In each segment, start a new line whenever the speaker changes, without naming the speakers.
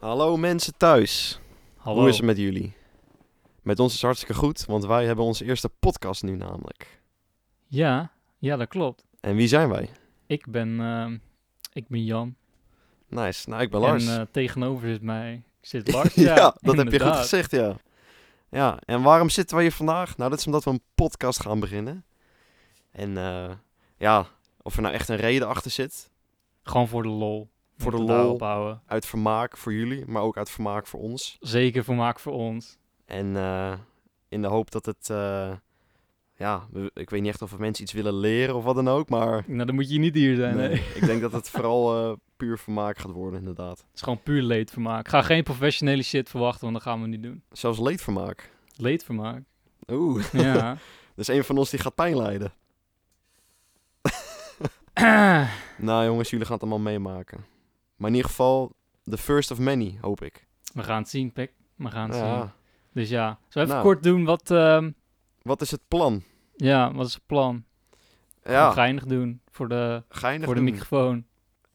Hallo mensen thuis.
Hallo.
Hoe is het met jullie? Met ons is het hartstikke goed, want wij hebben onze eerste podcast nu namelijk.
Ja, ja, dat klopt.
En wie zijn wij?
Ik ben, ehm, ik ben Jan.
Nice. Nou, ik ben Lars.
En eh, tegenover zit mij zit Lars.
ja,
ja,
dat heb je goed
inderdaad.
gezegd, ja. Ja, en waarom zitten we hier vandaag? Nou, dat is omdat we een podcast gaan beginnen. En eh, ja, of er nou echt een reden achter zit,
Gewoon voor de lol.
Voor de
Moeten we daarop
lol.
houden.
uit vermaak voor jullie, maar ook uit vermaak voor ons.
Zeker vermaak voor ons.
En eh, in de hoop dat het. eh, ja, we- ik weet niet echt of we mensen iets willen leren of wat dan ook, maar.
Nou, dan moet je niet hier zijn.
nee,
nee.
ik denk dat het vooral eh, puur vermaak gaat worden, inderdaad.
Het is gewoon puur leedvermaak. Ga geen professionele shit verwachten, want dat gaan we niet doen.
Zelfs leedvermaak.
Leedvermaak.
Oeh,
Ja.
dus een van ons die gaat pijn lijden. nou jongens, jullie gaan het allemaal meemaken. Maar in ieder geval, the first of many, hoop ik.
we gaan het zien, Pek. We gaan het zien.
Ja.
Dus ja, zullen we even
Nou.
kort doen wat, ehm,
Wat is het plan?
ja, wat is het plan? Gewoon
Ja,
Geinig doen voor de,
geinig
voor de
doen.
microfoon.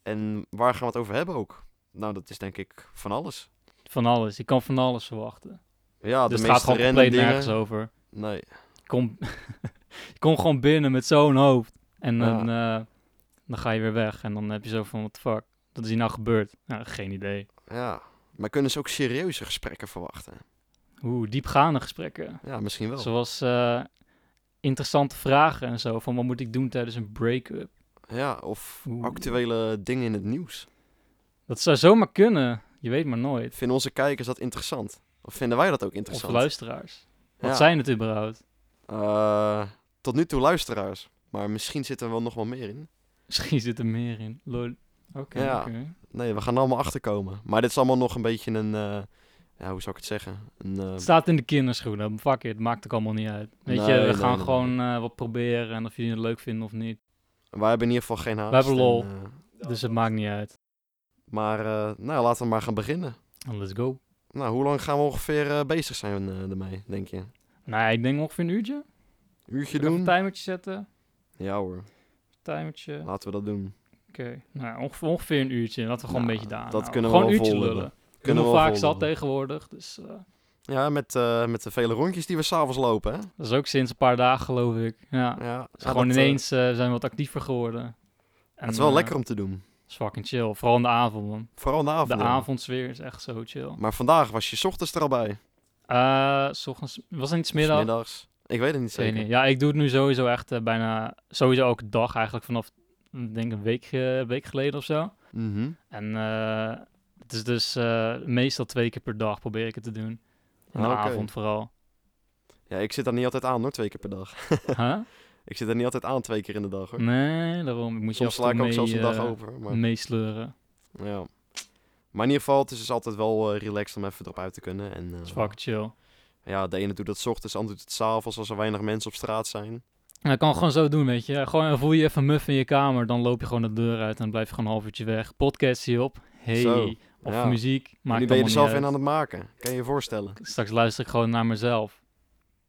En waar gaan we het over hebben ook? Nou, dat is denk ik van alles.
Van alles. Ik kan van alles verwachten.
Ja,
dus
de
het
meeste
gaat gewoon
random
compleet nergens
dingen.
over.
Nee.
Je Kom, je komt gewoon binnen met zo'n hoofd. En
Ja.
dan, eh, dan ga je weer weg. En dan heb je zo van, what the fuck? Wat is hier nou gebeurd? Nou, geen idee.
Ja, maar kunnen ze ook serieuze gesprekken verwachten?
Hoe diepgaande gesprekken.
Ja, misschien wel.
Zoals eh, interessante vragen en zo. Van, wat moet ik doen tijdens een break-up?
Ja, of
Oeh.
actuele dingen in het nieuws.
Dat zou zomaar kunnen. Je weet maar nooit.
Vinden onze kijkers dat interessant? Of vinden wij dat ook
Of
interessant?
luisteraars. Wat
Ja.
zijn het überhaupt?
Eh, tot nu toe luisteraars. Maar misschien zit er wel nog wel meer in.
Misschien zit er meer in. Lol. Oké,
Ja.
oké.
Nee, we gaan er allemaal achterkomen. Maar dit is allemaal nog een beetje een... eh, ja, hoe zou ik het zeggen? Een, eh,
Het staat in de kinderschoenen. Fuck it, maakt ook allemaal niet uit. Weet
Nee,
je, we
nee,
gaan
nee,
gewoon eh, wat proberen en of jullie het leuk vinden of niet.
wij hebben in ieder geval geen haast.
hebben lol.
en, eh,
Dus het maakt niet uit.
maar eh, nou, laten we maar gaan beginnen.
Dan Let's go.
Nou, hoe lang gaan we ongeveer eh, bezig zijn eh, ermee, denk je?
Nou, ik denk ongeveer een uurtje.
Uurtje
Even een
doen?
timertje zetten.
Ja hoor,
Timertje. Oké.
laten we dat doen.
Nou, ongeveer, ongeveer een uurtje. Laten we gewoon
Nou,
een beetje daar.
dat kunnen we
gewoon
wel
een uurtje
volhouden.
lullen.
Kunnen
Kunnen
we
we
wel
vaak zat
volhouden.
tegenwoordig. Dus eh,
Ja, met, eh, met de vele rondjes die we s'avonds lopen, hè?
dat is ook sinds een paar dagen, geloof ik. Ja.
Ja, ja,
Dus gewoon
dat, eh,
ineens eh, zijn we wat actiever geworden. En,
het is wel
eh,
lekker om te doen.
Het is fucking chill. Vooral in de avond, man.
Vooral in de avond.
De avondsfeer is echt zo chill.
Maar vandaag was je 's ochtends er al bij.
Eh, s ochtends, was het niet
Of 's
smiddag?
middags. Ik weet het niet
Ik weet
zeker.
niet. Ja, ik doe het nu sowieso echt eh, bijna, sowieso elke dag eigenlijk vanaf, ik denk een week, eh, week geleden of zo.
Mhm.
En eh, het is dus eh, meestal twee keer per dag probeer ik het te doen. In de
Ah, oké.
avond vooral.
Ja, ik zit daar niet altijd aan hoor, twee keer per dag.
huh?
Ik zit er niet altijd aan twee keer in de dag hoor.
Mm, Nee, daarom. Ik moet
Soms
je
sla
af
ik
en
ook
toe mee,
zelfs een dag
eh,
over. Maar,
meesleuren.
ja. maar in ieder geval, het is dus altijd wel eh, relaxed om even erop uit te kunnen. En, eh,
Dat is fucking chill.
ja, de ene doet dat 's ochtends, de ander doet het s'avonds als er weinig mensen op straat zijn.
En dat kan gewoon zo doen, weet je. Gewoon eh, voel je even muff in je kamer, dan loop je gewoon de deur uit en blijf je gewoon een half uurtje weg. Podcast zie je op. Hey.
Zo,
Of
ja.
muziek.
Maar
Maakt
nu ben je er zelf in
en
aan het maken. Kan je je voorstellen?
Straks luister ik gewoon naar mezelf.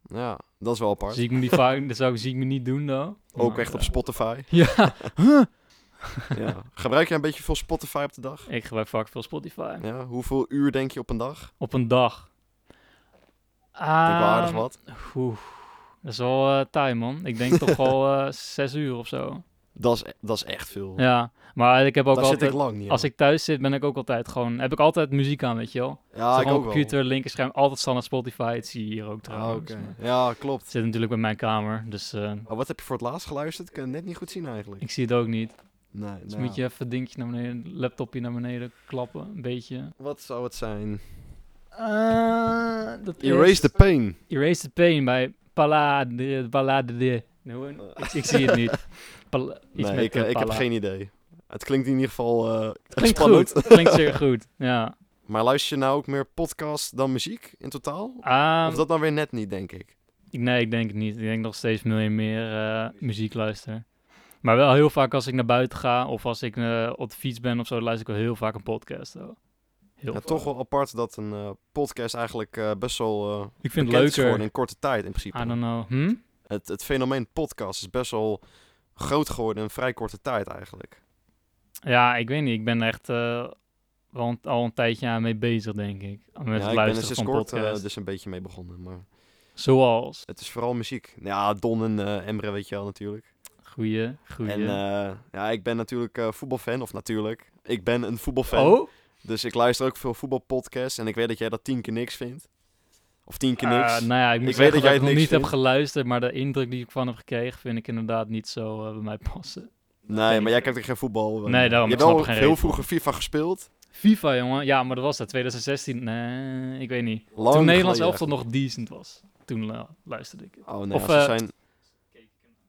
Ja, dat is wel apart.
Zie ik me niet vaak, dat zou ik, zie ik me niet doen dan.
Ook
Maar,
echt op
eh,
Spotify.
Ja,
Ja. Gebruik jij een beetje veel Spotify op de dag?
ik gebruik vaak veel Spotify.
Ja, hoeveel uur denk je op een dag?
Op een dag.
Ik denk wel aardig
Ehm,
wat.
oeh, dat is wel eh time man. Ik denk toch wel eh, zes uur of zo.
Dat is, e- dat is echt veel.
Ja, maar ik heb ook
Daar zit ik
altijd...
lang niet
Als
aan.
ik thuis zit, ben ik ook altijd gewoon... Heb ik altijd muziek aan, weet je wel?
ja, Ah, ik
gewoon
ook
computer, linkerscherm, altijd standaard Spotify. Het zie je hier ook
wel.
trouwens.
Ah, oké.
maar
Ja, klopt.
Het zit natuurlijk bij mijn kamer, dus eh,
Maar wat heb je voor het laatst geluisterd? Ik kan het net niet goed zien eigenlijk.
ik zie het ook niet.
Nee,
Dus
nou,
moet je even dingetje naar beneden, laptopje naar beneden klappen, een beetje.
Wat zou het zijn?
Eh, dat is-
Erase the Pain.
Erase the Pain bij Palade, Palade de... Nee, hoe- ik, ik zie het niet. Pal- iets
nee,
met
ik,
eh,
ik heb
pala.
geen idee. Het klinkt in ieder geval eh
Klinkt
spannend.
goed, klinkt zeer goed, ja.
Maar luister je nou ook meer podcast dan muziek in totaal?
Ehm,
of dat nou weer net niet, denk ik.
ik- Nee, ik denk het niet. Ik denk nog steeds meer, meer eh, muziek luisteren. Maar wel heel vaak als ik naar buiten ga of als ik eh, op de fiets ben of zo, luister ik wel heel vaak een podcast. Hoor.
Ja,
Heel vaak.
toch wel apart dat een eh, podcast eigenlijk eh, best wel eh
Ik vind
bekend
het
is geworden
leuker.
in korte tijd in principe.
I don't know. Hm?
Het, het fenomeen podcast is best wel groot geworden in vrij korte tijd eigenlijk.
Ja, ik weet niet. Ik ben echt eh, wel een- al een tijdje aan mee bezig, denk ik. Met
ja,
het
ik ben er
luisteren
sinds
van
kort eh,
podcasts.
dus een beetje mee begonnen. Maar
Zoals.
het is vooral muziek. Nou Ja, Don en eh, Emre weet je wel natuurlijk.
Goeie, goeie.
En eh, ja, ik ben natuurlijk eh, voetbalfan. Of natuurlijk, ik ben een voetbalfan.
oh?
Dus ik luister ook veel voetbalpodcasts. En ik weet dat jij dat tien keer niks vindt. Of tien keer
Eh,
niks.
nou ja, ik moet
Ik
zeggen
weet dat
dat
jij het
ik nog
niks
niet heb
vindt.
geluisterd, maar de indruk die ik van heb gekregen vind ik inderdaad niet zo eh, bij mij passen.
nee, maar jij kijkt er geen voetbal. eh.
Nee, daarom,
Je
ik
hebt
snap
wel
er geen
heel
reet
vroeger FIFA gespeeld.
FIFA, jongen. Ja, maar dat was dat, 2016. Nee, ik weet niet.
Lang
toen Nederlands
geleden
elftal nog decent was, toen eh, luisterde ik het.
Oh nee,
Of,
ze,
eh,
zijn,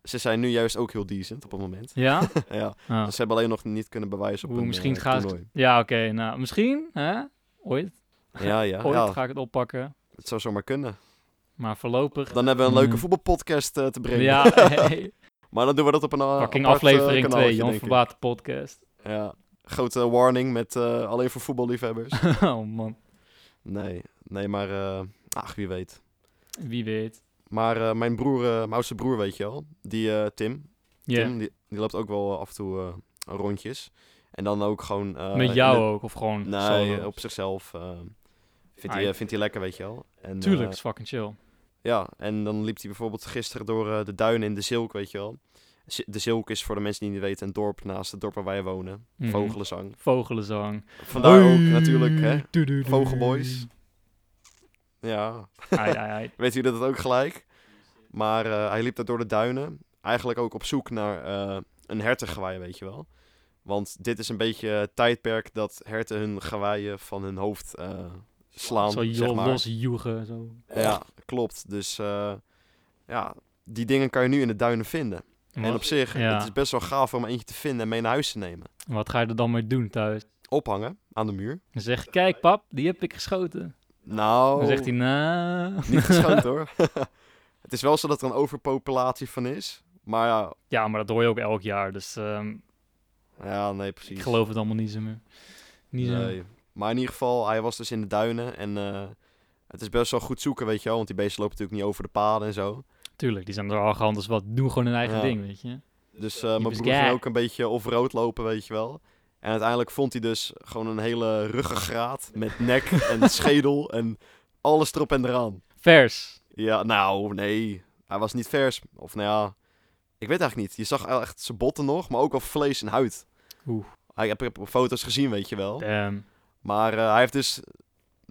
ze zijn nu juist ook heel decent op het moment.
Ja?
ja,
Ah.
ze hebben alleen nog niet kunnen bewijzen op
Oeh,
een
misschien
eh,
ga ik...
toernooi.
Ja, oké. nou, misschien, hè? Ooit,
Ja, ja,
ooit
ja,
ga ik het oppakken.
het zou zomaar kunnen.
Maar voorlopig...
Dan hebben we een leuke
Mm.
voetbalpodcast eh, te brengen.
Ja, hey,
Maar dan doen we dat op een eh,
fucking
apart, eh,
aflevering 2,
kanaaltje,
Jan
denk ik.
Verbaat de podcast.
Ja, grote warning met eh, alleen voor voetballiefhebbers.
oh man,
nee, nee, maar eh, ach, wie weet.
wie weet.
Maar eh, mijn broer, eh, mijn oudste broer, weet je wel, die eh, Tim,
Ja,
Tim die, die loopt ook wel eh, af en toe eh, rondjes. En dan ook gewoon... eh,
Met
in
jou
de-
ook, of gewoon
Nee,
solo?
op zichzelf. eh, vindt,
Ah,
hij,
ik-
eh, vindt hij lekker, weet je wel. En,
Tuurlijk,
eh,
is fucking chill.
ja, en dan liep hij bijvoorbeeld gisteren door eh, de duinen in de Zilk, weet je wel. Z- De Zilk is voor de mensen die niet weten een dorp naast het dorp waar wij wonen.
Mhm.
Vogelenzang.
Vogelenzang.
Vandaar ook
Hoi,
natuurlijk, hè.
du- du- du-
Vogelboys. Ja,
Ai, ai, ai.
weet jullie dat ook gelijk? Maar eh, hij liep daar door de duinen. Eigenlijk ook op zoek naar eh, een hertengewaai, weet je wel. Want dit is een beetje het tijdperk dat herten hun gewaaien van hun hoofd eh, slaan.
Zo
zeg
joh,
maar.
los joegen, zo.
Ja, klopt. Dus eh, ja, die dingen kan je nu in de duinen vinden. En
Wat,
op zich,
ja.
het is best wel gaaf om er eentje te vinden en mee naar huis te nemen.
wat ga je er dan mee doen thuis?
Ophangen aan de muur.
Dan zeg je, kijk pap, die heb ik geschoten.
Nou,
Dan zegt hij, nou...
niet geschoten hoor. het is wel zo dat er een overpopulatie van is. Maar ja,
Ja, maar dat hoor je ook elk jaar, dus ehm,
ja nee,
ik
precies.
geloof het allemaal niet zo meer. Niet zo.
Nee. Maar in ieder geval, hij was dus in de duinen. En eh, het is best wel goed zoeken, weet je wel. Want die beesten lopen natuurlijk niet over de paden en zo.
Tuurlijk, die zijn er arrogant als wat. Doen gewoon hun eigen
Ja.
ding, weet je.
Dus eh, mijn
was
broer ging
gay.
ook een beetje off-road lopen, weet je wel. En uiteindelijk vond hij dus gewoon een hele ruggengraat met nek en schedel en alles erop en eraan.
Vers.
Ja, nou, nee. Hij was niet vers. Of nou ja, ik weet eigenlijk niet. Je zag wel echt zijn botten nog, maar ook wel vlees en huid.
Oeh.
Hij- Ik heb, ik heb foto's gezien, weet je wel.
Ehm,
Maar eh, hij heeft dus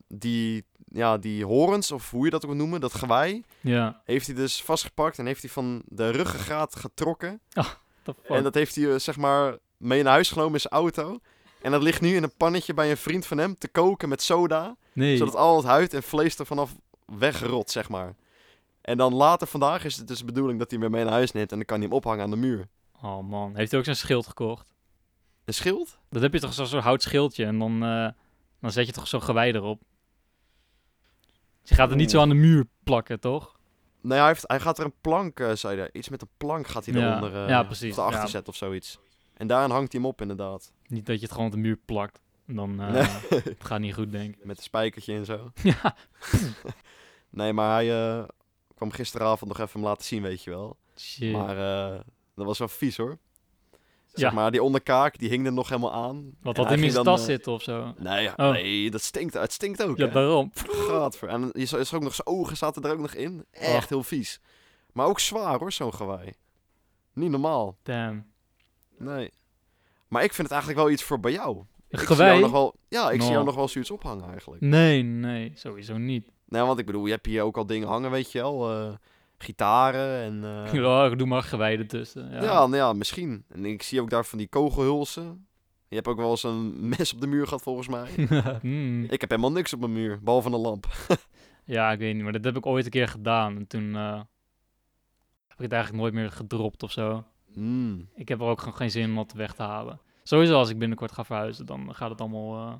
die, ja, die horens, of hoe je dat ook wil noemen, dat gewei,
ja,
heeft hij dus vastgepakt en heeft hij van de ruggengraat getrokken.
the fuck.
En dat heeft hij, eh, zeg maar, mee naar huis genomen in zijn auto. En dat ligt nu in een pannetje bij een vriend van hem te koken met soda.
nee.
Zodat al het huid en vlees er vanaf wegrot, zeg maar. En dan later vandaag is het dus de bedoeling dat hij hem weer mee naar huis neemt. En dan kan hij hem ophangen aan de muur.
Oh man, heeft hij ook zijn schild gekocht?
Een schild?
Dat heb je toch zo'n soort hout schildje en dan, eh, dan zet je toch zo'n gewei erop. Dus je gaat het niet zo
Oeh.
aan de muur plakken, toch?
Nee, hij, heeft, hij gaat er een plank, eh, zei hij. Iets met een plank gaat hij
Ja.
eronder. eh,
Ja, precies,
Of erachter
ja.
zetten of zoiets. En daarin hangt hij hem op, inderdaad.
Niet dat je het gewoon op de muur plakt. Dan eh, het gaat niet goed, denk ik.
Met een spijkertje en zo.
ja,
Nee, maar hij eh, kwam gisteravond nog even hem laten zien, weet je wel.
shit.
Maar eh, dat was wel vies hoor. Zeg
Ja.
maar, die onderkaak, die hing er nog helemaal aan.
Wat
En hij
had in
ging
zijn
dan,
tas
eh,
zitten of zo.
Nee, ja,
Oh.
nee, dat stinkt. Het stinkt ook.
Ja,
hè?
daarom.
Gadver. En je zag je zag ook nog zijn ogen zaten er ook nog in. Echt
Oh.
heel vies. Maar ook zwaar hoor, zo'n gewei. Niet normaal.
Damn.
Nee. Maar ik vind het eigenlijk wel iets voor bij jou.
Een
Ik zie jou
gewei?
nog wel, ja, ik zie jou
No.
nog wel zoiets ophangen eigenlijk.
Nee, nee, sowieso niet.
Nee, want ik bedoel, je hebt hier ook al dingen hangen, weet je wel. eh, gitaren en... eh,
Ja, ik Oh, doe maar gewei ertussen. Ja.
Ja, nou ja, misschien. En ik zie ook daar van die kogelhulsen. Je hebt ook wel eens een mes op de muur gehad, volgens mij.
Hmm.
ik heb helemaal niks op mijn muur, behalve een lamp.
Ja, ik weet niet, maar dat heb ik ooit een keer gedaan. En toen eh, heb ik het eigenlijk nooit meer gedropt of zo.
Hmm.
Ik heb er ook gewoon geen zin om dat weg te halen. Sowieso als ik binnenkort ga verhuizen, dan gaat het allemaal eh,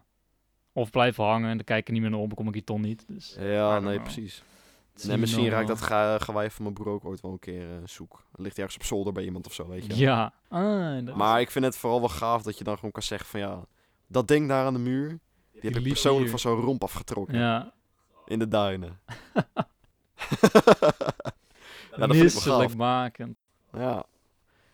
of blijven hangen en dan kijk ik er niet meer naar om, dan kom ik hier toch niet. Dus
Ja,
don't
nee,
know.
precies.
het is eh,
Nee,
niet
misschien raakt dat
normaal.
ge gewei van mijn broer ook ooit wel een keer eh, zoek. Het ligt ergens op zolder bij iemand of zo, weet je.
Ja. Ah, dat-
Maar ik vind het vooral wel gaaf dat je dan gewoon kan zeggen van ja, dat ding daar aan de muur, die heb ik
liep
persoonlijk van
hier.
zo'n romp afgetrokken.
Ja.
In de duinen. ja, dat vind ik wel gaaf.
Misselijkmakend.
Ja.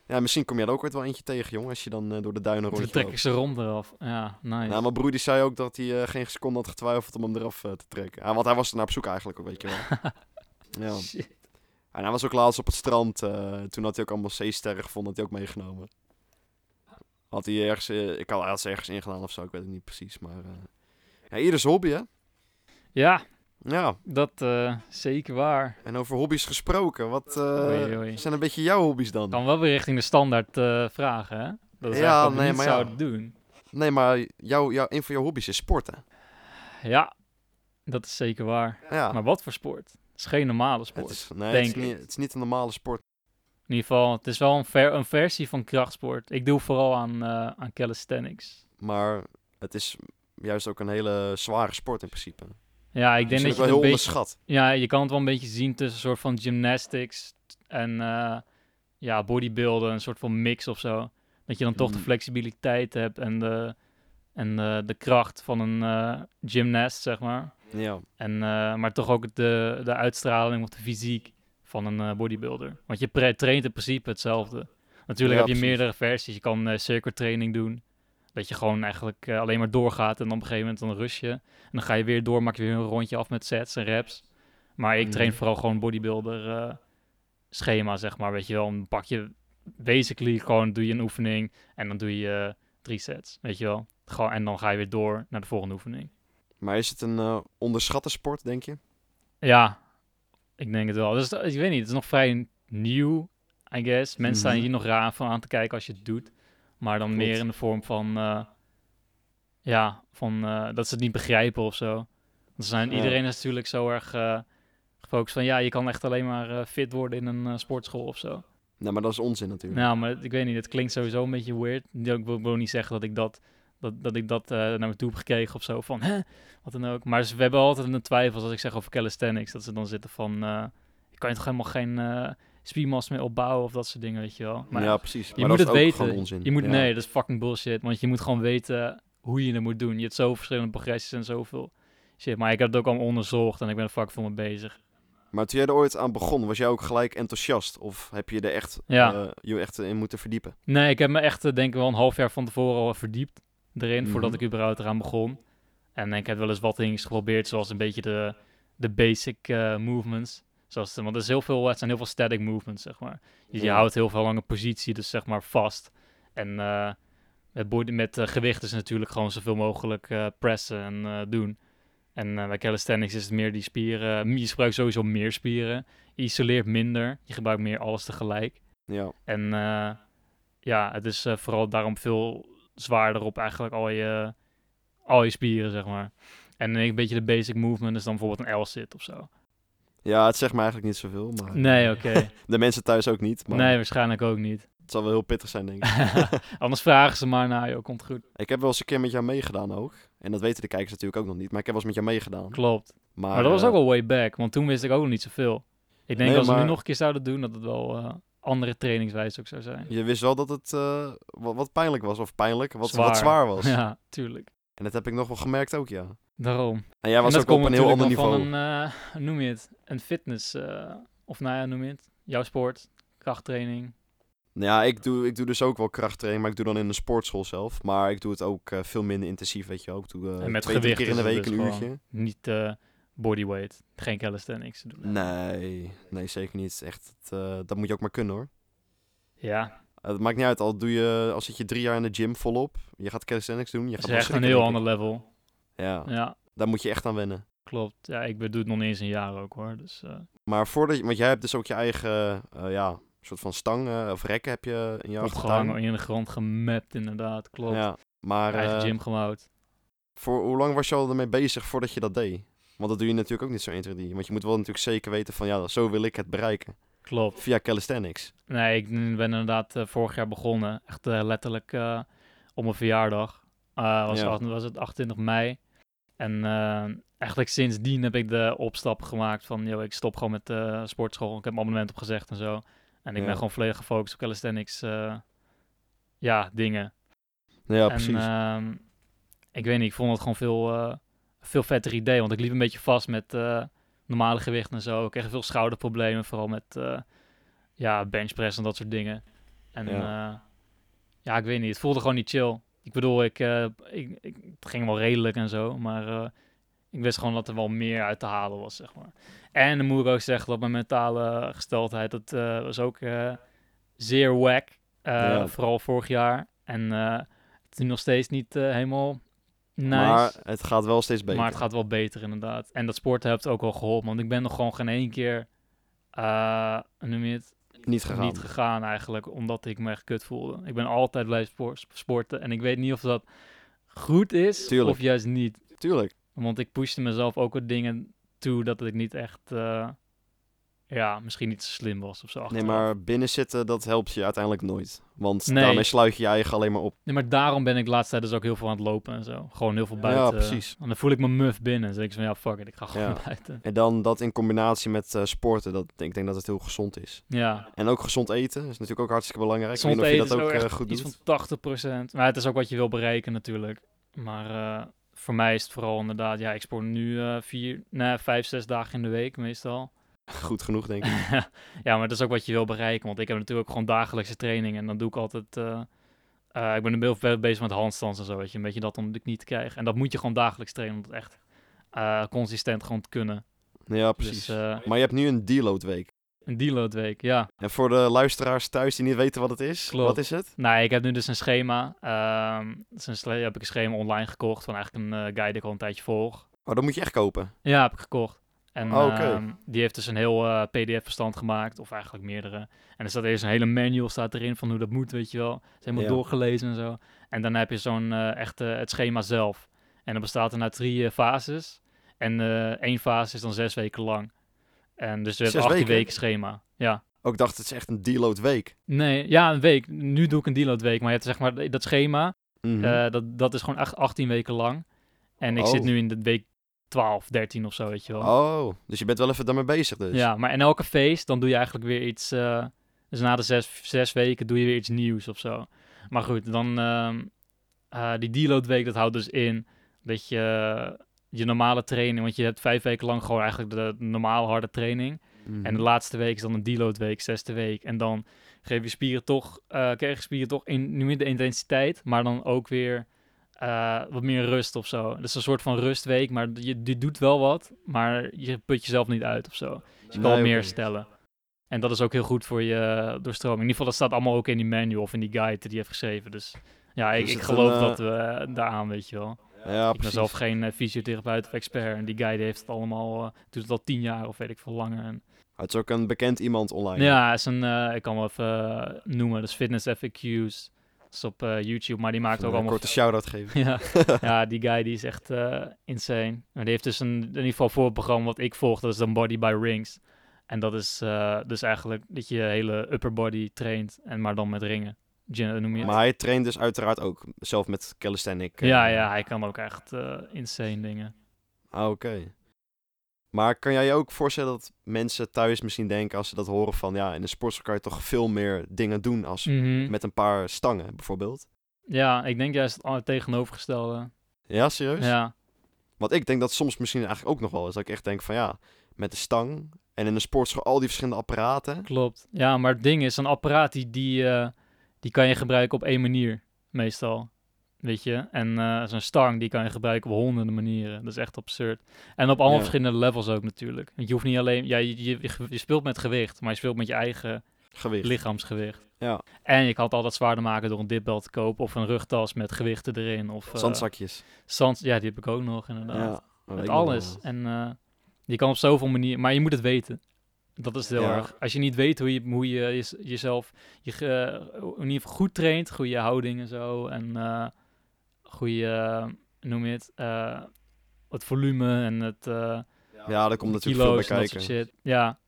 Ja, misschien kom je er ook ooit wel eentje tegen, jongen, als je dan eh, door de duinen
Toen
rondje
trek ik
loopt.
ze rond eraf. Ja, nice.
Nou, mijn broer die zei ook dat hij eh, geen seconde had getwijfeld om hem eraf eh, te trekken. Ah, want hij was er naar op zoek eigenlijk ook, weet je wel. ja.
Shit.
En hij was ook laatst op het strand. eh, toen had hij ook allemaal zeesterren gevonden, had hij ook meegenomen. Had hij ergens, eh, ik had, hij had ze ergens ingedaan of zo, ik weet het niet precies. Maar eh ja, ieder zijn hobby, hè?
Ja,
Ja,
dat eh, zeker waar.
en over hobby's gesproken, wat eh,
Oei, oei.
zijn een beetje jouw hobby's dan?
Kan wel weer richting de standaard eh, vragen, hè? Dat is
Ja,
eigenlijk wat we
nee,
niet
maar ja.
zouden doen.
Nee, maar jouw jouw een van jouw hobby's is sporten.
Ja, dat is zeker waar.
Ja,
Maar wat voor sport? Het is geen normale
het,
sport.
is, nee,
denk
het, is
ik.
niet, het is niet een normale sport.
In ieder geval, het is wel een, ver- een versie van krachtsport. Ik doe vooral aan, eh, aan calisthenics.
Maar het is juist ook een hele zware sport in principe.
Ja, ik denk
Misschien
dat
ook
je
wel
het
heel
een beetje...
onderschat.
Ja, je kan het wel een beetje zien tussen een soort van gymnastics en eh, ja, bodybuilden, een soort van mix of zo. Dat je dan toch de
Mm.
flexibiliteit hebt en de, en, eh, de kracht van een eh, gymnast, zeg maar.
Ja.
En, eh, maar toch ook de, de uitstraling of de fysiek van een eh, bodybuilder. Want je pre- traint in principe hetzelfde. Natuurlijk
Ja,
heb je
precies.
meerdere versies. Je kan eh circuit training doen. Dat je gewoon eigenlijk eh, alleen maar doorgaat en dan op een gegeven moment dan rust je. En dan ga je weer door, maak je weer een rondje af met sets en reps. Maar ik train
Mhm.
vooral gewoon bodybuilder eh, schema, zeg maar. Weet je wel, dan pak je basically gewoon doe je een oefening en dan doe je eh, drie sets, weet je wel. Gewoon, en dan ga je weer door naar de volgende oefening.
Maar is het een eh, onderschatte sport, denk je?
Ja, ik denk het wel. Dus eh, ik weet niet, het is nog vrij nieuw, I guess. Mensen staan
Mhm.
hier nog raar van aan te kijken als je het doet. Maar dan
Klopt.
meer in de vorm van, eh, ja, van eh, dat ze het niet begrijpen of zo. Want ze zijn,
Ja.
Iedereen is natuurlijk zo erg eh, gefocust van, ja, je kan echt alleen maar eh, fit worden in een eh, sportschool of zo.
Nee, maar dat is onzin natuurlijk.
Nou, maar ik weet niet, het klinkt sowieso een beetje weird. Ik wil, wil niet zeggen dat ik dat, dat, dat, ik dat eh, naar me toe heb gekregen of zo. Van, hè, wat dan ook. Maar ze, we hebben altijd een twijfel als ik zeg over calisthenics. Dat ze dan zitten van, eh, je kan je toch helemaal geen eh spiermassa meer opbouwen of dat soort dingen, weet je wel. Maar
ja, precies.
je
maar
moet
dat
het
is ook
weten.
gewoon onzin.
Je moet,
Ja.
Nee, dat is fucking bullshit. Want je moet gewoon weten hoe je het moet doen. Je hebt zoveel verschillende progressies en zoveel shit. Maar ik heb het ook allemaal onderzocht en ik ben er fucking voor me bezig.
Maar toen jij er ooit aan begon, was jij ook gelijk enthousiast? Of heb je er echt,
Ja.
eh, je echt in moeten verdiepen?
Nee, ik heb me echt, eh, denk ik, wel een half jaar van tevoren al verdiept erin,
Mhm.
voordat ik überhaupt eraan begon. En ik heb wel eens wat dingen geprobeerd, zoals een beetje de, de basic eh, movements. Zoals, eh, want er is heel veel, het zijn heel veel static movements, zeg maar. Dus Je, je
Ja.
houdt heel veel lange positie, dus zeg maar vast. En eh, met, body, met eh, gewicht is natuurlijk gewoon zoveel mogelijk eh, pressen en eh, doen. En eh, bij calisthenics is het meer die spieren. Je gebruikt sowieso meer spieren. Je isoleert minder. Je gebruikt meer alles tegelijk.
Ja.
En eh, ja, het is eh, vooral daarom veel zwaarder op eigenlijk al je, al je spieren, zeg maar. En een beetje de basic movement is dan bijvoorbeeld een L-sit of zo.
ja, het zegt me eigenlijk niet zoveel. Maar...
Nee, oké.
De mensen thuis ook niet. Maar
nee, waarschijnlijk ook niet.
het zal wel heel pittig zijn, denk ik.
Anders vragen ze maar naar je, komt goed.
ik heb wel eens een keer met jou meegedaan ook. En dat weten de kijkers natuurlijk ook nog niet. Maar ik heb wel eens met jou meegedaan.
Klopt.
Maar,
Maar, dat was
eh,
ook al way back, want toen wist ik ook nog niet zoveel. Ik denk
Nee,
dat als we
maar-
nu nog een keer zouden doen, dat het wel eh, andere trainingswijze ook zou zijn.
Je wist wel dat het eh, wat, wat pijnlijk was. Of pijnlijk, wat
Zwaar.
zwaar, wat zwaar was.
Ja, tuurlijk.
En dat heb ik nog wel gemerkt ook, ja.
Daarom.
En jij was
en
ook
dat
op
komt
een heel ander
natuurlijk
niveau.
wel van een, eh, noem je het, een fitness, eh, of nou ja, noem je het, jouw sport, krachttraining.
Nou ja, ik doe, ik doe dus ook wel krachttraining, maar ik doe dan in de sportschool zelf. Maar ik doe het ook eh, veel minder intensief, weet je wel. Ik doe eh,
En met
twee, drie
gewicht
keer in de
is het
week
dus
een
gewoon.
uurtje.
Niet eh, bodyweight, geen calisthenics te doen.
Nee, nee, zeker niet. Echt, eh, dat moet je ook maar kunnen hoor.
Ja,
Eh, het maakt niet uit, al, doe je, al zit je drie jaar in de gym volop. Je gaat calisthenics doen. Je
dat
gaat
is
wel
echt een
schrikken,
heel
denk
ander
ik.
level.
Ja,
Ja,
daar moet je echt aan wennen.
klopt. Ja, ik bedoel het nog niet eens een jaar ook hoor, dus eh,
Maar voordat je, want jij hebt dus ook je eigen, eh, ja, soort van stangen eh, of rekken heb je in je achtertuin.
opgehangen, in de grond gemapt inderdaad, klopt.
Ja, maar
Eigen
eh,
gym gebouwd.
voor, hoe lang was je al ermee bezig voordat je dat deed? Want dat doe je natuurlijk ook niet zo 1, 2, 3. Want je moet wel natuurlijk zeker weten van, ja, zo wil ik het bereiken.
Klopt.
Via calisthenics.
Nee, ik ben inderdaad eh, vorig jaar begonnen. Echt eh, letterlijk eh, op mijn verjaardag. Eh, was,
Ja.
acht- was het 28 mei. En eh, eigenlijk sindsdien heb ik de opstap gemaakt van... Yo, ik stop gewoon met de sportschool. Ik heb mijn abonnement opgezegd en zo. En ik
Ja.
ben gewoon volledig gefocust op calisthenics. eh, ja, dingen.
Ja,
en
precies.
ehm, ik weet niet, ik vond het gewoon veel, eh, veel vetter idee. Want ik liep een beetje vast met eh, normale gewichten en zo. Ik kreeg veel schouderproblemen, vooral met eh ja, benchpress en dat soort dingen. En ja. Uh, ja, ik weet niet. Het voelde gewoon niet chill. Ik bedoel, ik, uh, ik, ik, het ging wel redelijk en zo, maar uh, ik wist gewoon dat er wel meer uit te halen was, zeg maar. En dan moet ik ook zeggen dat mijn mentale gesteldheid, dat eh, was ook zeer wack. Ja. Vooral vorig jaar. En eh, het is nog steeds niet eh, helemaal nice.
Maar het gaat wel steeds beter.
Maar het gaat wel beter, inderdaad. En dat sporten heeft ook wel geholpen, want ik ben nog gewoon geen één keer, eh, noem je het,
niet gegaan.
niet gegaan eigenlijk, omdat ik me echt kut voelde. Ik ben altijd blijven sporten en ik weet niet of dat goed is
Tuurlijk.
of juist niet.
Tuurlijk.
Want ik pushte mezelf ook wat dingen toe dat ik niet echt, uh, ja, misschien niet zo slim was of zo.
Achteraf. Nee, maar binnenzitten, dat helpt je uiteindelijk nooit. Want nee. daarmee sluit je je eigen alleen maar op.
Nee, maar daarom ben ik de laatste tijd dus ook heel veel aan het lopen en zo. Gewoon heel veel buiten.
Ja, precies.
En dan voel ik me muf binnen. Dus ik van, ja, fuck it, ik ga gewoon ja. buiten.
En dan dat in combinatie met uh, sporten, dat, ik denk dat het heel gezond is.
Ja.
En ook gezond eten is natuurlijk ook hartstikke belangrijk.
Gezond
ik weet niet of je
eten
dat
is
ook, eh, goed
iets
doet.
van 80%. Maar het is ook wat je wil bereiken natuurlijk. Maar uh, voor mij is het vooral inderdaad, ja, ik sport nu uh, vier, nee, vijf, zes dagen in de week meestal.
Goed genoeg, denk ik.
ja, maar dat is ook wat je wil bereiken. Want ik heb natuurlijk ook gewoon dagelijkse training. En dan doe ik altijd. Uh, uh, ik ben een beetje bezig met handstands en zo. Weet je, een beetje dat om de knie te krijgen. En dat moet je gewoon dagelijks trainen. Om dat echt uh, consistent gewoon te kunnen.
Ja, precies.
eh,
Dus, maar je hebt nu een deload week.
Een deload week, ja.
En voor de luisteraars thuis die niet weten wat het is,
Klopt.
wat is het?
Nee, ik heb nu dus een schema. dus een heb ik een schema online gekocht van eigenlijk een eh, guide die ik al een tijdje volg.
Oh, dat moet je echt kopen?
Ja, heb ik gekocht. En
oh, okay.
uh, die heeft dus een heel uh, PDF-bestand gemaakt, of eigenlijk meerdere. En er staat eerst een hele manual staat erin van hoe dat moet, weet je wel. Het is helemaal
Ja.
doorgelezen en zo. En dan heb je zo'n uh, echt het schema zelf. En dat bestaat er uit drie eh, fases. En eh, één fase is dan zes weken lang. En dus je hebt
Zes
18
weken?
weken schema. Ja.
Ook Oh, dacht, het is echt een deload week.
Nee, ja, een week. Nu doe ik een deload week, maar je hebt zeg maar dat schema,
Mhm.
eh, dat, dat is gewoon echt 18 weken lang. En ik
Oh.
zit nu in de week 12, 13 of zo, weet je wel.
oh, dus je bent wel even daarmee bezig dus.
Ja, maar in elke feest dan doe je eigenlijk weer iets. eh, dus na de zes, zes weken doe je weer iets nieuws of zo. Maar goed, dan ehm, eh, die deload week, dat houdt dus in dat je je normale training, want je hebt vijf weken lang gewoon eigenlijk de normale harde training.
Mhm.
En de laatste week is dan een deload week, zesde week. En dan geef je spieren toch, eh krijg je spieren toch in, nu meer de intensiteit, maar dan ook weer eh, wat meer rust of zo. Dus een soort van rustweek, maar je, je doet wel wat, maar je put jezelf niet uit of zo. Dus je kan
Nee,
wel meer
oké.
stellen. En dat is ook heel goed voor je eh, doorstroming. In ieder geval, dat staat allemaal ook in die manual of in die guide die die heeft geschreven. Dus ja, ik,
Dus
ik
het
geloof
een, eh,
dat we daaraan, weet je wel.
Ja,
ik ben
precies.
zelf geen eh, fysiotherapeut of expert. En die guide heeft het allemaal, eh, doet het al tien jaar of weet ik veel langer. En
Het is ook een bekend iemand online.
ja, is een, eh, ik kan hem even eh, noemen, dus Fitness FAQ's. Dat is op eh, YouTube, maar die maakt
Even
ook
een
allemaal...
korte shout-out geven.
ja, ja, die guy die is echt eh, insane. Maar die heeft dus een, in ieder geval voor het programma wat ik volg, dat is dan Body by Rings. En dat is eh, dus eigenlijk dat je je hele upper body traint, en maar dan met ringen. Gym, noem je het?
Maar hij traint dus uiteraard ook zelf met calisthenic. eh.
Ja, ja, hij kan ook echt eh, insane dingen.
Ah, oké. Maar kan jij je ook voorstellen dat mensen thuis misschien denken als ze dat horen van... Ja, in de sportschool kan je toch veel meer dingen doen als
Mhm.
met een paar stangen bijvoorbeeld.
Ja, ik denk juist het tegenovergestelde.
Ja, serieus?
Ja.
Want ik denk dat soms misschien eigenlijk ook nog wel is. Dat ik echt denk van ja, met de stang en in de sportschool al die verschillende apparaten.
Klopt. Ja, maar het ding is, een apparaat die, die, eh, die kan je gebruiken op één manier, meestal. Weet je? En eh, zo'n stang, die kan je gebruiken op honderden manieren. Dat is echt absurd. En op allemaal
Ja.
verschillende levels ook natuurlijk. Want je hoeft niet alleen... Ja, je, je, je speelt met gewicht, maar je speelt met je eigen
Gewicht.
lichaamsgewicht.
Ja.
En je kan het altijd zwaarder maken door een dipbel te kopen of een rugtas met gewichten erin. Of, eh,
Zandzakjes.
zand- ja, die heb ik ook nog inderdaad.
Ja, weet
Met
ik nog wel.
alles. En eh, je kan op zoveel manieren, maar je moet het weten. Dat is heel
Ja.
erg. Als je niet weet hoe je, hoe je jez- jezelf je, ge- in ieder geval goed traint, goede houding en zo. En eh goede, eh, noem je het, eh, het volume en het eh
Ja, daar komt natuurlijk veel bij
kilo's en dat soort
kijken.
shit. Ja,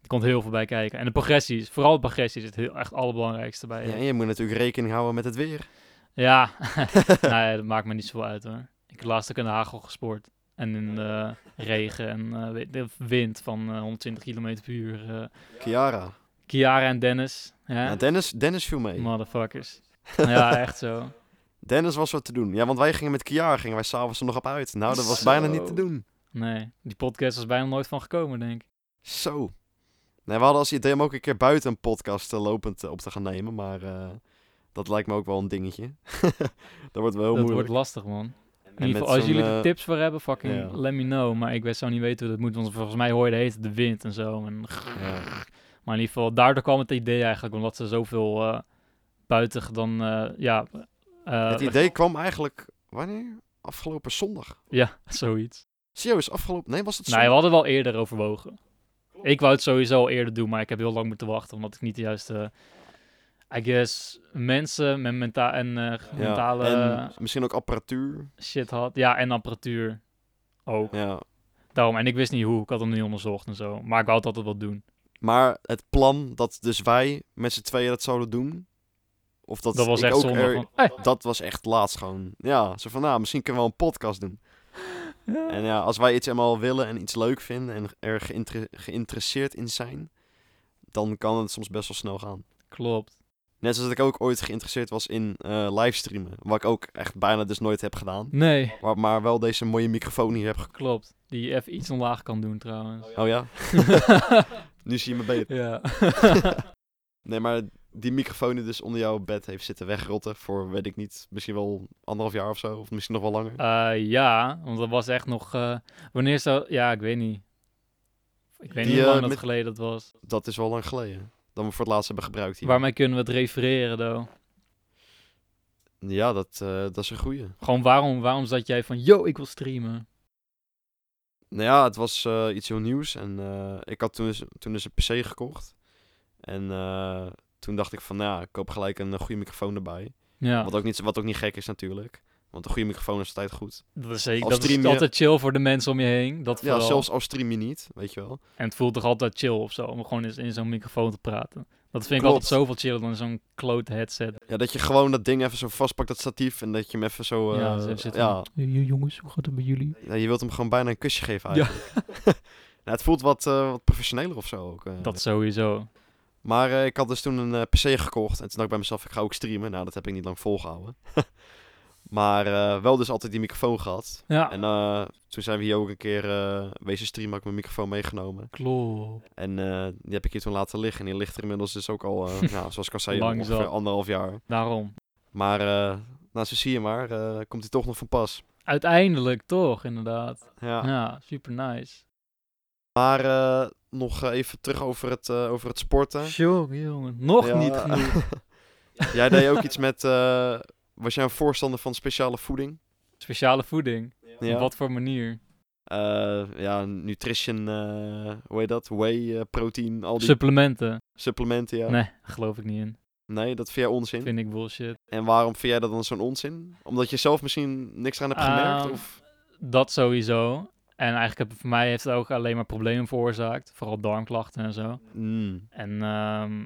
er komt heel veel bij kijken. En de progressies, vooral de progressies, is het heel, echt het allerbelangrijkste bij.
Ja, en
Ja,
je moet natuurlijk rekening houden met het weer.
ja. nee, dat maakt me niet zoveel uit hoor. Ik heb laatst ook in de hagel gespoord. En in de regen en eh, weet- de wind van eh, 120 km per uur. eh.
Chiara.
Kiara en Dennis. Hè?
Ja, Dennis, Dennis viel mee.
Motherfuckers. ja, echt zo.
Dennis was wat te doen. Ja, want wij gingen met Kiara, gingen wij s'avonds er nog op uit. Nou, dat was bijna
Zo.
niet te doen.
Nee, die podcast was bijna nooit van gekomen, denk ik.
Zo. Nee, we hadden als idee om ook een keer buiten een podcast eh, lopend eh, op te gaan nemen, maar eh, dat lijkt me ook wel een dingetje. dat wordt wel heel
dat
moeilijk.
wordt lastig, man. In
En
ieder
met
geval, als
zo'n,
jullie er
eh,
tips voor hebben, fucking
ja.
let me know. Maar ik weet, zou niet weten hoe dat moet, want volgens mij hoorde heet de wind en zo. En
Ja.
Maar in ieder geval, daardoor kwam het idee eigenlijk, omdat ze zoveel eh, buiten dan, eh, ja... eh,
Het idee kwam eigenlijk, wanneer? Afgelopen zondag.
Ja, zoiets.
Serieus, afgelopen... Nee, was het zondag?
Nee, we hadden wel eerder overwogen. Ik wou het sowieso al eerder doen, maar ik heb heel lang moeten wachten, omdat ik niet de juiste... I guess mensen met menta en eh,
Ja,
mentale
en misschien ook apparatuur.
shit had. Ja, en apparatuur ook.
Ja.
Daarom, en ik wist niet hoe, ik had hem niet onderzocht en zo. Maar ik wou het altijd wel doen.
Maar het plan dat dus wij met z'n tweeën dat zouden doen... Of dat,
Dat, was
ik
echt
ook
zonde.
er-
Van, hey.
Dat was echt laatst gewoon. Ja, zo van, nou, misschien kunnen we wel een podcast doen. En ja, als wij iets helemaal willen en iets leuk vinden en er geïnter- geïnteresseerd in zijn, dan kan het soms best wel snel gaan.
Klopt.
Net zoals dat ik ook ooit geïnteresseerd was in eh livestreamen, wat ik ook echt bijna dus nooit heb gedaan.
Nee,
Maar, maar wel deze mooie microfoon hier heb gek-
klopt. Die je even iets omlaag kan doen trouwens.
Oh ja, nu zie je me beter.
ja.
Nee, maar die microfoon die dus onder jouw bed heeft zitten wegrotten voor, weet ik niet, misschien wel anderhalf jaar of zo, of misschien nog wel langer.
Eh, ja, want dat was echt nog... eh, wanneer zou... Ja, ik weet niet. Ik weet
Die,
niet hoe lang
eh,
dat
met-
geleden dat was.
Dat is wel lang geleden, dat we voor het laatst hebben gebruikt hier.
Waarmee kunnen we het refereren, though?
Ja, dat, eh, dat is een goeie.
Gewoon waarom, waarom zat jij van... Yo, ik wil streamen.
Nou ja, het was eh, iets heel nieuws. En eh, ik had toen, dus- toen dus een PC gekocht. En eh, toen dacht ik van, nou, ja, ik koop gelijk een eh, goede microfoon erbij.
Ja,
Wat, ook niet, wat ook niet gek is natuurlijk. Want een goede microfoon is altijd goed.
dat is zeker.
als
Dat
stream
is
je-
altijd chill voor de mensen om je heen. Dat
Ja,
vooral.
zelfs al stream je niet, weet je wel.
En het voelt toch altijd chill of zo, om gewoon eens in zo'n microfoon te praten. Dat vind ik
Klopt.
altijd zoveel chiller dan zo'n klote headset.
Ja, dat je gewoon dat ding even zo vastpakt, dat statief. En dat je hem even zo... eh,
Ja,
ja,
zo zit
Jongens, hoe gaat het met jullie?
Ja, je wilt hem gewoon bijna een kusje geven eigenlijk. nou, het voelt wat, eh, wat professioneler of zo ook. eh.
Dat sowieso.
Maar eh, ik had dus toen een eh, PC gekocht. En toen dacht ik bij mezelf, ik ga ook streamen. Nou, dat heb ik niet lang volgehouden. maar eh, wel dus altijd die microfoon gehad.
Ja,
En eh, toen zijn we hier ook een keer eh wezen streamen. Had ik mijn microfoon meegenomen.
klopt.
En eh, die heb ik hier toen laten liggen. En die ligt er inmiddels dus ook al, eh, nou, zoals ik al zei,
Lang is
ongeveer
dat.
anderhalf jaar.
Daarom.
Maar, eh nou, zo zie je maar, eh, komt hij toch nog van pas.
Uiteindelijk toch, inderdaad.
Ja.
Ja, super nice.
Maar eh, nog eh, even terug over het, eh, over het sporten.
Jongen, jongen. Nog
Ja.
niet genoeg.
Jij deed ook iets met, eh, was jij een voorstander van speciale voeding?
Speciale voeding. Op wat voor manier?
Eh, ja, nutrition, eh, hoe heet dat? Whey, eh, protein, al die
Supplementen.
supplementen, ja. Nee.
Nee, geloof ik niet in.
dat vind jij onzin.
Vind ik bullshit.
En waarom vind jij dat dan zo'n onzin? Omdat je zelf misschien niks aan hebt gemerkt?
Ehm,
of...
Dat sowieso. En eigenlijk heb, voor mij heeft het ook alleen maar problemen veroorzaakt. Vooral darmklachten en zo.
Mm,
En ehm,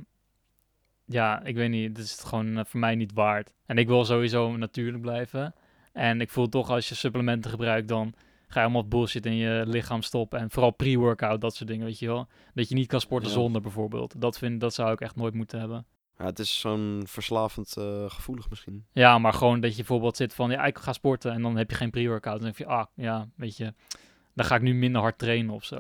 ja, ik weet niet, het is het gewoon eh, voor mij niet waard. En ik wil sowieso natuurlijk blijven. En ik voel toch als je supplementen gebruikt, dan ga je allemaal bullshit in je lichaam stoppen. En vooral pre-workout, dat soort dingen, weet je wel. Dat je niet kan sporten
Ja.
zonder bijvoorbeeld. Dat, vind, dat zou ik echt nooit moeten hebben.
ja, het is zo'n verslavend eh, gevoelig misschien.
Ja, maar gewoon dat je bijvoorbeeld zit van, ja, ik ga sporten en dan heb je geen pre-workout. Dan denk je, ah, ja, weet je, dan ga ik nu minder hard trainen of zo.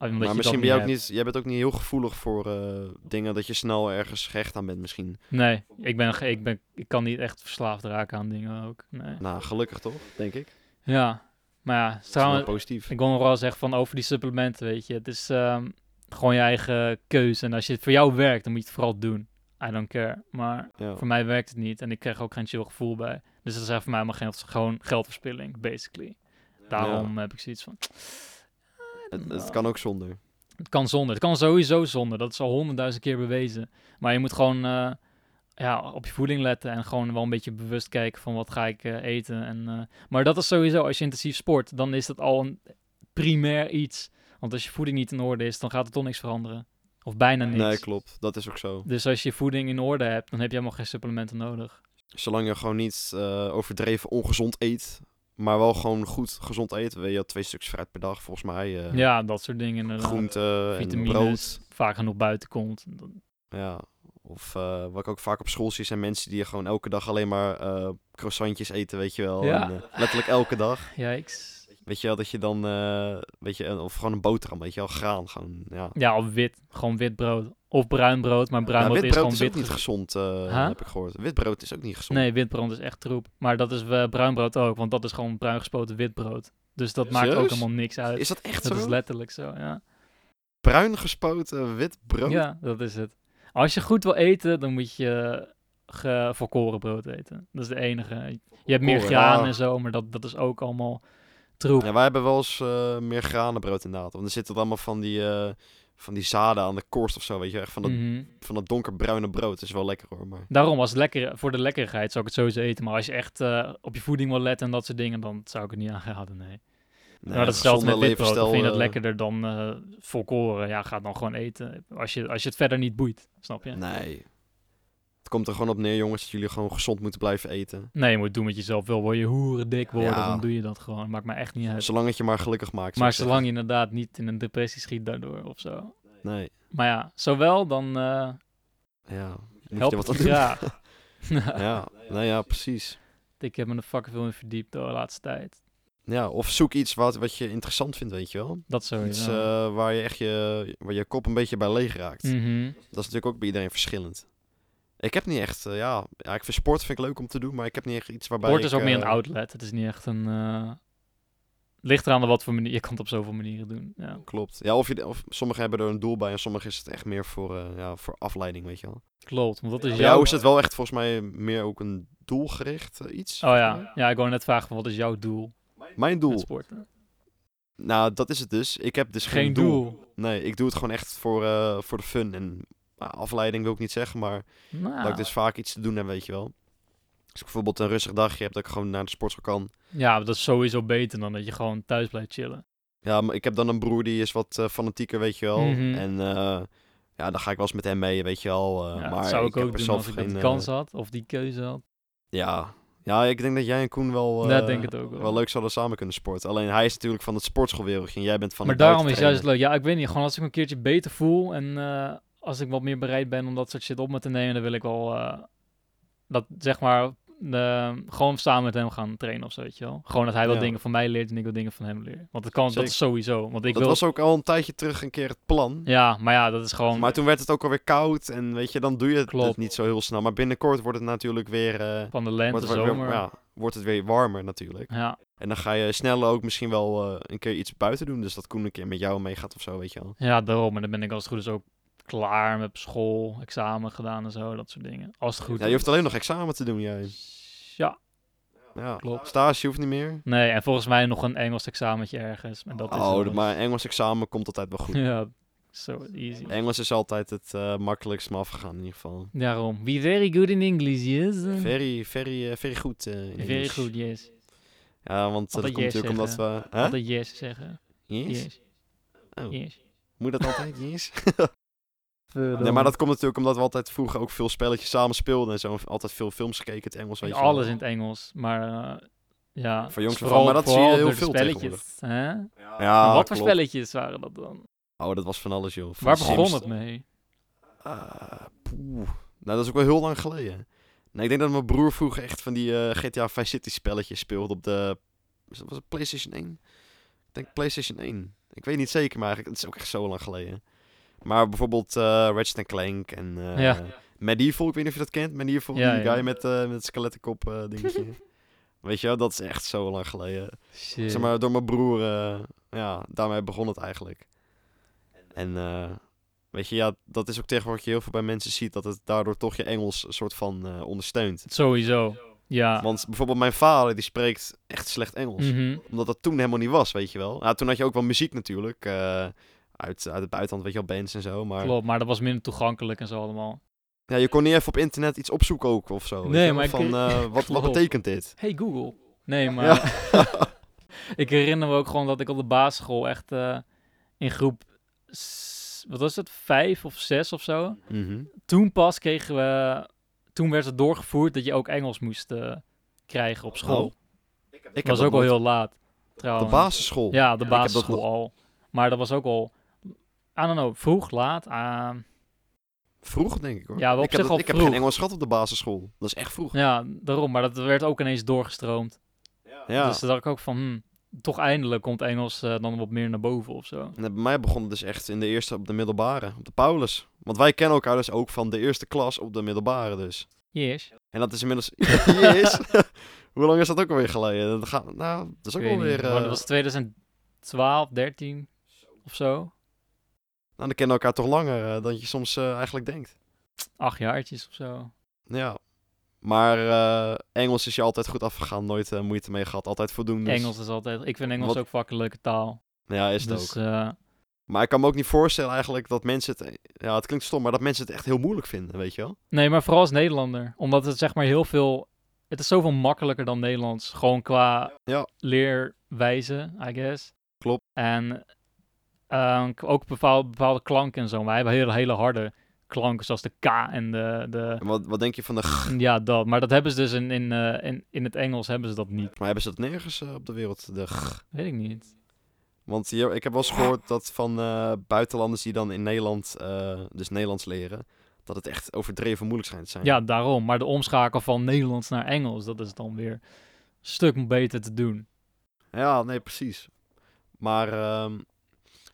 Omdat
maar
je
misschien
dat
ben jij ook
hebt.
niet, jij bent ook niet heel gevoelig voor eh, dingen dat je snel ergens gehecht aan bent misschien.
Nee, ik, ben, ge- ik, ben, ik kan niet echt verslaafd raken aan dingen ook. Nee.
Nou, gelukkig toch, denk ik. Dat
Ja, maar ja,
is wel
trouwens,
positief.
ik wil nog wel zeggen van over die supplementen, weet je. Het is ehm, gewoon je eigen keuze. En als je het voor jou werkt, dan moet je het vooral doen. I don't care. Maar
Ja.
voor mij werkt het niet en ik kreeg ook geen chill gevoel bij. Dus dat is echt voor mij maar geen, gewoon geldverspilling, basically. Daarom heb ik zoiets van...
Het, het kan ook zonder.
Het kan zonder. Het kan sowieso zonder. Dat is al honderdduizend keer bewezen. Maar je moet gewoon eh, ja, op je voeding letten en gewoon wel een beetje bewust kijken van wat ga ik eh, eten. En, eh, maar dat is sowieso, als je intensief sport, dan is dat al een primair iets. Want als je voeding niet in orde is, dan gaat er toch niks veranderen. Of bijna niks.
Nee, klopt. Dat is ook zo.
Dus als je voeding in orde hebt, dan heb je helemaal geen supplementen nodig.
Zolang je gewoon niet eh, overdreven ongezond eet, maar wel gewoon goed gezond eet. Weet je, wel, twee stukjes fruit per dag volgens mij. eh,
Ja, dat soort dingen. inderdaad.
groente en
vitamines.
brood.
Vaak genoeg buiten komt.
Ja. Of eh, wat ik ook vaak op school zie, zijn mensen die gewoon elke dag alleen maar eh croissantjes eten, weet je wel.
Ja.
En, eh, letterlijk elke dag.
Jijks.
Weet je wel, dat je dan, eh, weet je, eh, of gewoon een boterham, weet je wel, graan, gewoon, ja.
Ja, of wit. Gewoon wit brood. Of bruin brood, maar bruin
Ja,
brood
wit
is
brood
gewoon
is,
wit.
ook niet
ge-
gezond, eh,
Huh?
heb ik gehoord. Wit brood is ook niet gezond.
Nee, wit brood is echt troep. Maar dat is eh, bruin brood ook, want dat is gewoon bruin gespoten wit brood. Dus dat maakt ook
Serieus?
helemaal niks uit.
Is dat echt
eh, dat
zo?
is letterlijk zo, ja.
Bruin gespoten wit brood?
Ja, dat is het. Als je goed wil eten, dan moet je eh, ge- volkoren brood eten. Dat is de enige. Je hebt meer
Volkoren,
graan
ah.
en zo, maar dat, dat is ook allemaal troep.
Ja, wij hebben wel eens eh, meer granenbrood inderdaad. Want er zitten allemaal van die, eh, van die zaden aan de korst of zo, weet je. Echt van dat,
Mhm.
van dat donkerbruine brood. is wel lekker hoor, maar...
Daarom, als lekker, voor de lekkerheid zou ik het sowieso eten. Maar als je echt eh, op je voeding wil letten en dat soort dingen, dan zou ik het niet aanraden, nee.
Nee,
maar Nou, dat is hetzelfde met
gezonde
witbrood.
levensstijl,
Dan vind je dat
eh,
lekkerder dan eh, volkoren. Ja, ga het dan gewoon eten. Als je, als je het verder niet boeit, snap je?
Nee. Het komt er gewoon op neer, jongens, dat jullie gewoon gezond moeten blijven eten.
Nee, je moet doen wat je zelf wil. Wil je hoeren dik worden,
Ja.
dan doe je dat gewoon. Maakt me echt niet uit.
Zolang het je maar gelukkig maakt. zou
Maar
ik
zolang je inderdaad niet in een depressie schiet daardoor of zo.
zeggen. Nee,
Maar ja, zowel dan eh
ja. Moet je
helpt
er wat aan
het
doen.
graag.
Ja, nou ja, precies.
Ik heb me er fucking veel in verdiept de laatste tijd.
Ja, of zoek iets wat, wat je interessant vindt, weet je wel.
Dat sowieso.
Iets eh, waar je echt je, waar je kop een beetje bij leeg raakt.
Mhm.
Dat is natuurlijk ook bij iedereen verschillend. Ik heb niet echt, eh, ja, ja, ik vind sport vind ik leuk om te doen, maar ik heb niet echt iets waarbij
Sport
ik,
is ook meer een
eh,
outlet. Het is niet echt een... eh, Ligt eraan op wat voor manier. Je kan het op zoveel manieren doen. Ja.
Klopt. Ja, of, je, of sommigen hebben er een doel bij en sommigen is het echt meer voor, eh, ja, voor afleiding, weet je wel.
Klopt, want dat is
Bij
jouw...
jou is het wel echt volgens mij meer ook een doelgericht eh, iets.
Oh ja. ja, ik wou net vragen, van, wat is jouw doel
Mijn
met
doel.
sporten?
Nou, dat is het dus. Ik heb dus geen,
Geen doel.
Nee, ik doe het gewoon echt voor, eh, voor de fun. En nou, afleiding wil ik niet zeggen, maar dat
Nou,
ik dus vaak iets te doen heb, weet je wel. Als ik bijvoorbeeld een rustig dagje heb, dat ik gewoon naar de sportschool kan.
Ja, maar dat is sowieso beter dan dat je gewoon thuis blijft chillen.
Ja, maar ik heb dan een broer die is wat eh, fanatieker, weet je wel.
Mhm.
En eh, ja, dan ga ik wel eens met hem mee, weet je wel. eh,
Ja,
maar
dat zou ik,
heb
ook
er
doen
zelf
als ik dat
geen,
de
eh,
kans had of die keuze had.
ja. ja, ik denk dat jij en Koen wel,
ja,
eh,
ik denk het ook wel.
wel leuk zouden samen kunnen sporten. Alleen hij is natuurlijk van het sportschoolwereldje en jij bent van
maar
het buiten
daarom is
trainen.
juist leuk. Ja, ik weet niet. Gewoon als ik me een keertje beter voel en eh, als ik wat meer bereid ben om dat soort shit op me te nemen, dan wil ik wel eh, dat zeg maar eh, gewoon samen met hem gaan trainen of zo, weet je wel. Gewoon dat hij wat
Ja.
dingen van mij leert en ik wat dingen van hem leer. Want dat kan, dat
Zeker.
is sowieso. Want ik
dat
wil.
was ook al een tijdje terug een keer het plan.
Ja, maar ja, dat is gewoon.
Maar toen werd het ook alweer koud en weet je, dan doe je het
Klopt.
niet zo heel snel. Maar binnenkort wordt het natuurlijk weer, eh,
van de lente,
wordt, wordt- weer-
zomer. ja.
ja, wordt het weer warmer natuurlijk.
ja,
En dan ga je sneller ook misschien wel eh, een keer iets buiten doen. Dus dat Koen een keer met jou meegaat of zo, weet je wel.
daarom. En dan ben ik als het goed is ook klaar met school, examen gedaan en zo, dat soort dingen. Als het goed
Ja, je hoeft alleen nog examen te doen, jij.
is. Ja,
Ja.
Klopt.
Stage hoeft niet meer.
Nee, en volgens mij nog een Engels examentje ergens. En dat is
oh,
alles.
maar Engels examen komt altijd wel goed.
Ja, so easy.
Engels is altijd het eh, makkelijkst me afgegaan in ieder geval.
Daarom. Be very good in English, yes.
Very, very, eh, very goed. eh, in
Mm. Very
Engels.
good, yes.
Ja, want eh, dat
Altijd
komt
yes
natuurlijk omdat
zeggen.
we... Huh?
Altijd yes zeggen.
Yes?
Yes.
Oh.
yes.
Moet dat altijd? Yes? Nee, maar dat komt natuurlijk omdat we altijd vroeger ook veel spelletjes samen speelden en zo. En Altijd veel films gekeken in het Engels, weet je wel.
Alles in het Engels, maar eh, ja.
Van jongs af aan,
vooral-
maar dat zie je
vooral
heel
door de
veel
spelletjes. Hè?
Ja,
En wat voor
klopt.
spelletjes waren dat dan?
Oh, dat was van alles, joh. Van
Waar
Sims-
begon het mee?
Ah, poeh. Nou, dat is ook wel heel lang geleden. Nee, ik denk dat mijn broer vroeger echt van die eh, GTA Vice City spelletjes speelde op de... Was dat was het PlayStation 1? Ik denk PlayStation 1. Ik weet niet zeker, maar eigenlijk, het is ook echt zo lang geleden. Maar bijvoorbeeld eh Ratchet Clank en eh,
Ja.
Medieval, ik weet niet of je dat kent. Medieval,
Ja,
die
ja.
guy met, eh met skelettenkop eh, dingetje. weet je wel, dat is echt zo lang geleden.
Shit.
Zeg maar, door mijn broer, eh, ja, daarmee begon het eigenlijk. En eh, weet je, ja, dat is ook tegenwoordig je heel veel bij mensen ziet, dat het daardoor toch je Engels een soort van eh, ondersteunt.
Sowieso. Ja.
Want bijvoorbeeld mijn vader, die spreekt echt slecht Engels.
Mhm.
Omdat dat toen helemaal niet was, weet je wel. Nou, toen had je ook wel muziek natuurlijk, eh, uit, uit het buitenland, weet je wel, bands en zo. Maar
Klopt, maar dat was minder toegankelijk en zo allemaal.
ja, je kon niet even op internet iets opzoeken ook of zo. weet
Nee,
je wel,
maar ik-
Van, eh, wat, wat
Klopt.
betekent dit?
Hey Google. Nee, maar...
Ja.
Ik herinner me ook gewoon dat ik op de basisschool echt eh, in groep, s- wat was het, vijf of zes of zo.
Mhm.
Toen pas kregen we, toen werd het doorgevoerd dat je ook Engels moest eh, krijgen op school.
Oh, Ik heb
dat was
dat
ook al
nooit-
heel laat,
De
trouwens.
basisschool.
Ja, de
Ik heb dat
basisschool
nog-
al. Maar dat was ook al, I don't know, vroeg, laat. ah,
Vroeg, denk ik hoor.
Ja, wel op
ik heb,
zich
dat-
al
ik heb
vroeg.
geen Engels gehad op de basisschool. Dat is echt vroeg.
ja, daarom. Maar dat werd ook ineens doorgestroomd.
Ja,
Dus toen Dus dacht ik ook van, hmm, toch eindelijk komt Engels eh, dan wat meer naar boven of zo.
En bij mij begon het dus echt in de eerste op de middelbare, op de Paulus. Want wij kennen elkaar dus ook van de eerste klas op de middelbare dus.
Yes.
En dat is inmiddels... Yes. Hoe lang is dat ook alweer geleden? Dat gaat, nou, dat is ook
Ik weet
alweer...
niet, maar
eh,
dat was 2012, 13 of zo.
Nou, dan kennen we elkaar toch langer eh, dan je soms eh, eigenlijk denkt.
Acht jaartjes of zo.
Ja. Maar eh, Engels is je altijd goed afgegaan, nooit eh, moeite mee gehad, altijd voldoende.
Engels is altijd... Ik vind Engels
Dus Wat-
ook fucking leuke taal.
Ja, is het
dus,
ook.
eh,
Maar ik kan me ook niet voorstellen eigenlijk dat mensen het... Ja, het klinkt stom, maar dat mensen het echt heel moeilijk vinden, weet je wel?
nee, maar vooral als Nederlander. Omdat het zeg maar heel veel... Het is zoveel makkelijker dan Nederlands. Gewoon qua
Ja.
leerwijze, I guess.
Klopt.
En ehm, k- ook bepaalde, bepaalde klanken en zo. Wij hebben hele, hele harde klanken, zoals de K en de... de
En wat, wat denk je van de... g-
ja, dat. Maar dat hebben ze dus in, in, eh, in, in het Engels hebben ze dat niet.
Maar hebben ze dat nergens eh, op de wereld, de g?
Weet ik niet.
Want hier, ik heb wel eens gehoord dat van eh, buitenlanders die dan in Nederland, eh, dus Nederlands leren, dat het echt overdreven moeilijk schijnt te zijn.
Ja, daarom. Maar de omschakel van Nederlands naar Engels, dat is dan weer een stuk beter te doen.
Ja, nee, precies. Maar, ehm,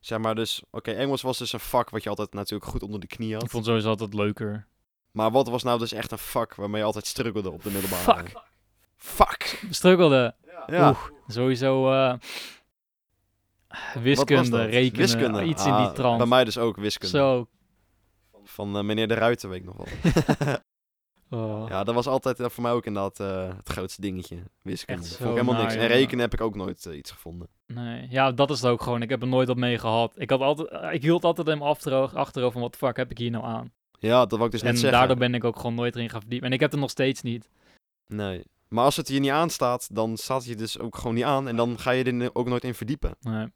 zeg maar dus... Oké, Engels was dus een vak wat je altijd natuurlijk goed onder de knie
Ik
had.
vond sowieso altijd leuker.
Maar wat was nou dus echt een vak waarmee je altijd struggelde op de middelbare?
Fuck.
Fuck!
Struggelde.
Ja.
Oeh, sowieso eh,
Wat was
wiskunde,
dat?
rekenen,
Wiskunde.
iets in
Ah,
die trant.
Bij mij dus ook wiskunde.
Zo.
Van eh, meneer de Ruiter weet ik nog wel.
Oh.
ja, dat was altijd eh, voor mij ook inderdaad eh, het grootste dingetje. Wiskunde.
Echt
Vond
zo
ik helemaal
naar,
niks. En
jongen.
rekenen heb ik ook nooit eh, iets gevonden.
Nee. ja, dat is het ook gewoon. Ik heb er nooit wat mee gehad. Ik, had altijd, eh, ik hield altijd in mijn achteroog, achteroog van wat de fuck heb ik hier nou aan.
Ja, dat wou ik dus
en
net zeggen.
daardoor ben ik ook gewoon nooit erin gaan verdiepen. En ik heb het nog steeds niet.
Nee. Maar als het hier niet aan staat, dan staat het je dus ook gewoon niet aan. En dan ga je er ook nooit in verdiepen.
Nee.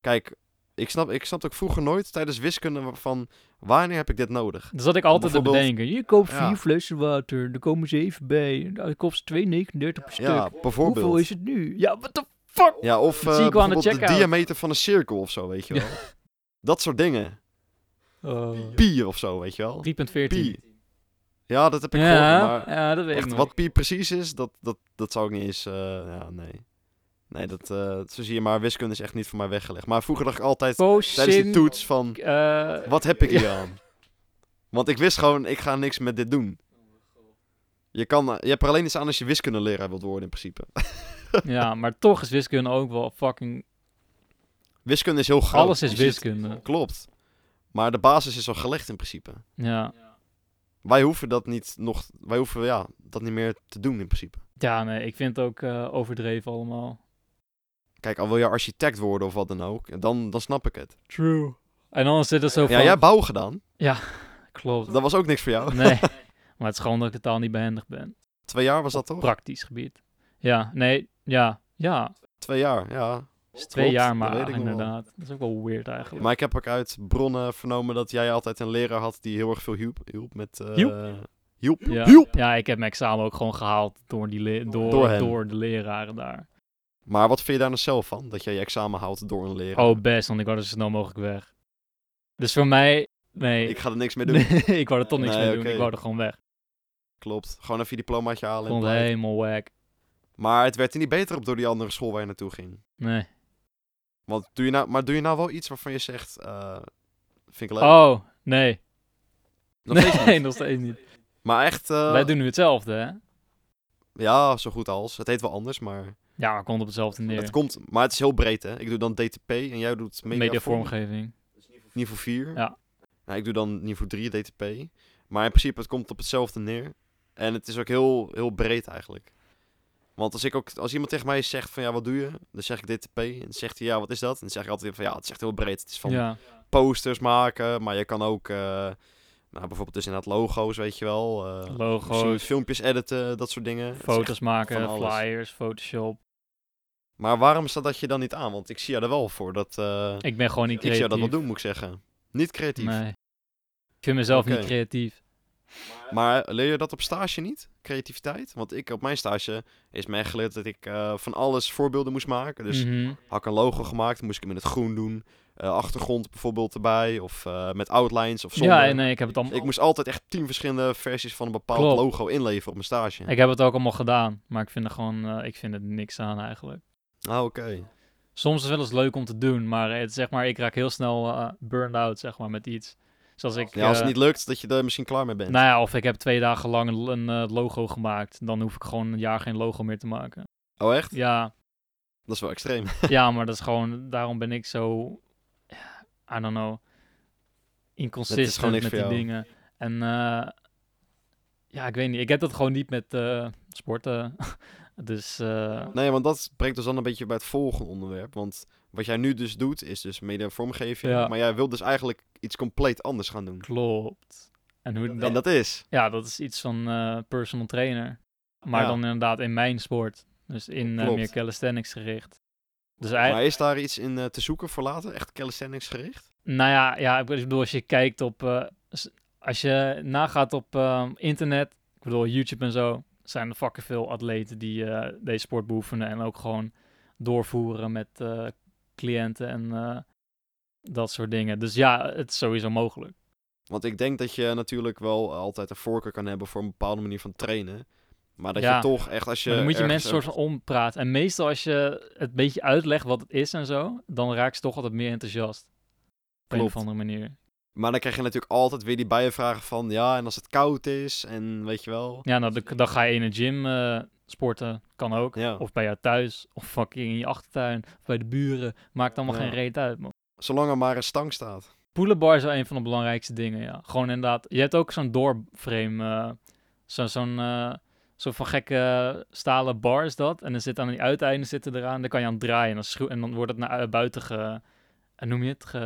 Kijk, ik snap, ik snap ook vroeger nooit tijdens wiskunde van wanneer heb ik dit nodig?
Dus dat ik altijd te
Bijvoorbeeld-
bedenken. Je koopt
Ja.
vier flessen water, er komen ze even bij. Dat kost 2,39 per stuk.
Ja, bijvoorbeeld.
Hoeveel is het nu? Ja, what the fuck?
Ja, of
Dat
eh,
zie ik wel aan de
bijvoorbeeld de,
checkout.
diameter van een cirkel of zo, weet je wel. Dat soort dingen.
Oh.
Pi of zo, weet je wel.
3,14.
Pi. Ja, dat heb ik gehoord,
Ja,
maar
ja, dat weet ik
echt
nog.
wat pi precies is, dat, dat, dat zou ik niet eens... eh, ja, nee. Nee, dat, eh, zo zie je maar, wiskunde is echt niet voor mij weggelegd. Maar vroeger dacht ik altijd tijdens die
Cosin-
toets van,
eh,
wat heb ik hier aan? Want ik wist gewoon, ik ga niks met dit doen. Je, kan, eh, je hebt er alleen iets aan als je wiskundeleraar wilt worden in principe.
ja, maar toch is wiskunde ook wel fucking...
Wiskunde is heel groot.
Alles is
Je ziet-
wiskunde.
Klopt. Maar de basis is al gelegd in principe.
Ja.
Wij hoeven dat niet nog. Wij hoeven ja, dat niet meer te doen in principe.
ja, nee, ik vind het ook eh, overdreven allemaal.
Kijk, al wil je architect worden of wat dan ook, dan, dan snap ik het.
True. En dan zit het zo van...
Ja, jij hebt bouw gedaan.
Klopt.
Dat was ook niks voor jou.
Nee, maar het is gewoon dat ik de taal niet behendig ben.
Twee jaar was dat toch?
Praktisch gebied. Ja, nee, ja, ja.
Twee jaar, ja.
Het is twee
Klopt,
jaar
dat weet
maar,
ik nog wel.
inderdaad. Dat is ook wel weird eigenlijk.
Maar ik heb ook uit bronnen vernomen dat jij altijd een leraar had die heel erg veel hielp, hielp met. eh,
Hielp?
hielp?
Ja, ja, ik heb mijn examen ook gewoon gehaald door, die le- door,
Door
door,
hem.
de leraren daar.
Maar wat vind je daar nou zelf van? Dat jij je examen houdt door een leraar?
Oh, best, want ik wou er zo snel mogelijk weg. Dus voor mij, nee.
Ik ga er niks mee doen.
Nee, ik wou er toch niks
Nee,
mee doen.
oké.
Ik wou er gewoon weg.
Klopt. Gewoon even je diplomaatje halen. en
Vond het
blijven.
helemaal wack.
Maar het werd er niet beter op door die andere school waar je naartoe ging.
Nee.
Want doe je nou, maar doe je nou wel iets waarvan je zegt, eh, vind ik leuk?
Oh, nee.
Nog steeds
nee,
niet.
nog steeds niet.
Maar echt, eh,
Wij doen nu hetzelfde, hè?
ja, zo goed als. Het heet wel anders, maar
Ja, maar komt op hetzelfde neer.
het komt. Maar het is heel breed, hè. Ik doe dan DTP en jij doet media,
Media
vorm-
vormgeving.
Niveau 4.
Ja.
Nou, ik doe dan niveau 3 DTP. Maar in principe, het komt op hetzelfde neer. En het is ook heel, heel breed eigenlijk. Want als, ik ook, als iemand tegen mij zegt van, ja, wat doe je? Dan zeg ik DTP. En dan zegt hij, ja, wat is dat? En dan zeg ik altijd van, ja, het is echt heel breed. Het is van
Ja.
posters maken, maar je kan ook eh, nou, bijvoorbeeld dus inderdaad logo's, weet je wel. eh, misschien
Logo's,
filmpjes editen, dat soort dingen. Het is echt-
foto's
van
maken,
alles.
flyers, Photoshop.
Maar waarom staat dat je dan niet aan? Want ik zie jou er wel voor. Dat, eh,
Ik ben gewoon niet
ik zie
creatief.
jou dat wel doen, moet ik zeggen. Niet creatief.
Nee. Ik vind mezelf
Oké.
niet creatief.
Maar leer je dat op stage niet? Creativiteit? Want ik op mijn stage is mij geleerd dat ik eh, van alles voorbeelden moest maken. Dus
Mhm.
had ik een logo gemaakt, moest ik hem in het groen doen. eh, achtergrond bijvoorbeeld erbij. Of eh, met outlines of zonder.
Ja, nee, ik heb het allemaal.
Ik
Ik,
moest altijd echt tien verschillende versies van een bepaald
Klopt.
logo inleveren op mijn stage.
heb het ook allemaal gedaan, maar ik vind er gewoon, eh, ik vind het niks aan eigenlijk.
Ah, oké.
Soms is het wel eens leuk om te doen, maar het, zeg maar, ik raak heel snel eh, burned out zeg maar, met iets. Zoals ik,
Ja, als
eh,
het niet lukt, dat je er misschien klaar mee bent.
nou ja, of ik heb twee dagen lang een, een eh, logo gemaakt. Dan hoef ik gewoon een jaar geen logo meer te maken.
Oh, echt?
Ja,
Dat is wel extreem.
ja maar dat is gewoon... Daarom ben ik zo... I don't know. Inconsistent
niks
met
voor
die
jou.
dingen. En eh, ja, ik weet niet. Ik heb dat gewoon niet met eh, sporten. dus eh,
Nee, want dat brengt ons dan een beetje bij het volgende onderwerp. Want wat jij nu dus doet, is dus mede een vormgeving.
Ja.
Maar jij wilt dus eigenlijk iets compleet anders gaan doen.
klopt. En, hoe,
En dat is...
Ja, dat is iets van eh, personal trainer. Maar
Ja.
dan inderdaad in mijn sport. Dus in eh,
Klopt.
meer calisthenics gericht. Dus
Maar
eigenlijk,
is daar iets in eh, te zoeken voor later? Echt calisthenics gericht?
nou ja, ja, ik bedoel, als je kijkt op, eh, s- als je nagaat op eh, internet, ik bedoel, YouTube en zo, zijn er fucking veel atleten die eh, deze sport beoefenen en ook gewoon doorvoeren met eh, cliënten en eh, dat soort dingen. Dus ja, het is sowieso mogelijk.
Want ik denk dat je natuurlijk wel altijd een voorkeur kan hebben voor een bepaalde manier van trainen. Maar dat
Ja.
je toch echt als je.
Maar dan moet je
ergens
mensen soort van ompraten. En meestal als je het een beetje uitlegt wat het is en zo, dan raak ze toch altijd meer enthousiast. Op een
Klopt.
of andere manier.
Maar dan krijg je natuurlijk altijd weer die bijenvragen van ja, en als het koud is en weet je wel.
Ja, nou, dan, dan ga je in een gym eh, sporten. Kan ook.
Ja.
Of bij jou thuis. Of fucking in je achtertuin. Of bij de buren. Maakt allemaal
Ja.
geen reet uit, man.
Zolang er maar een stang staat.
Poelenbar is wel een van de belangrijkste dingen, ja. Gewoon inderdaad. Je hebt ook zo'n doorframe. eh zo- zo'n eh soort van gekke stalen bar is dat. En er zit aan die uiteinden zitten eraan. Dan kan je aan draaien. En dan, schroe- en dan wordt het naar eh, buiten ge... En noem je het? Ge...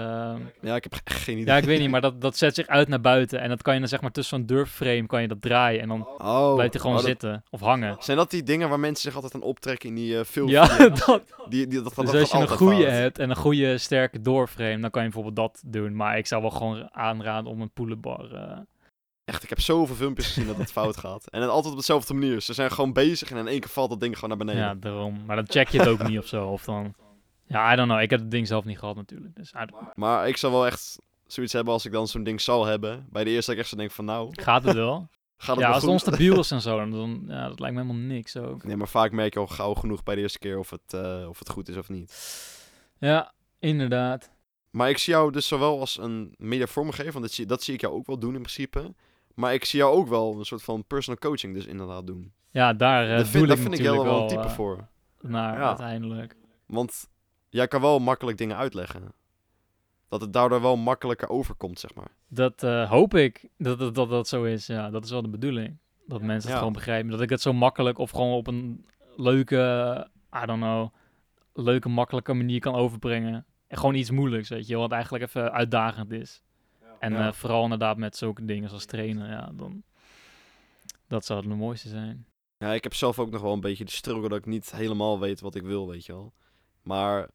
Ja, ik heb echt geen idee.
Ja, ik weet niet. Maar dat, dat zet zich uit naar buiten. En dat kan je dan zeg maar tussen zo'n doorframe kan je dat draaien. En dan
Oh,
blijft hij gewoon
oh, dat-
zitten. Of hangen.
Zijn dat die dingen waar mensen zich altijd aan optrekken in die eh, filmpjes?
Ja, dat...
Die, die, dat, dat
Dus
dat
als je
gaat
een
altijd
goede
fout.
hebt en een goede sterke doorframe, dan kan je bijvoorbeeld dat doen. Maar ik zou wel gewoon aanraden om een poelenbar... eh,
Echt, ik heb zoveel filmpjes gezien dat het fout gaat. En dan altijd op dezelfde manier. Ze zijn gewoon bezig en in één keer valt dat ding gewoon naar beneden.
Ja, daarom. Maar dan check je het ook niet of zo. Of dan... Ja, I don't know. Ik heb het ding zelf niet gehad natuurlijk. Dus I don't-
Maar ik zou wel echt zoiets hebben als ik dan zo'n ding zal hebben. Bij de eerste dat ik echt zo denk van nou,
gaat het wel?
gaat het
ja,
wel
als het
goed?
onstabiel is en zo, dan, dan ja, dat lijkt me helemaal niks ook.
Nee, maar vaak merk je al gauw genoeg bij de eerste keer of het, eh, of het goed is of niet.
Ja, inderdaad.
Maar ik zie jou dus zowel als een media vormgever, want dat zie, dat zie ik jou ook wel doen in principe. Maar ik zie jou ook wel een soort van personal coaching dus inderdaad doen.
Ja, daar
dat
eh doe
vind, dat
ik
vind ik
natuurlijk
helemaal wel
wel
een type
eh,
voor.
naar
Ja.
uiteindelijk.
Want jij kan wel makkelijk dingen uitleggen. Dat het daardoor wel makkelijker overkomt, zeg maar.
Dat eh, hoop ik dat dat, dat dat zo is. Ja, dat is wel de bedoeling. Dat mensen het
Ja.
gewoon begrijpen. Dat ik het zo makkelijk of gewoon op een leuke, I don't know, leuke, makkelijke manier kan overbrengen. En gewoon iets moeilijks, weet je, wel, wat eigenlijk even uitdagend is. En
Ja.
eh, vooral inderdaad met zulke dingen zoals trainen, ja, dan. Dat zou het mooiste zijn.
Ja, ik heb zelf ook nog wel een beetje de struggle dat ik niet helemaal weet wat ik wil, weet je wel. Maar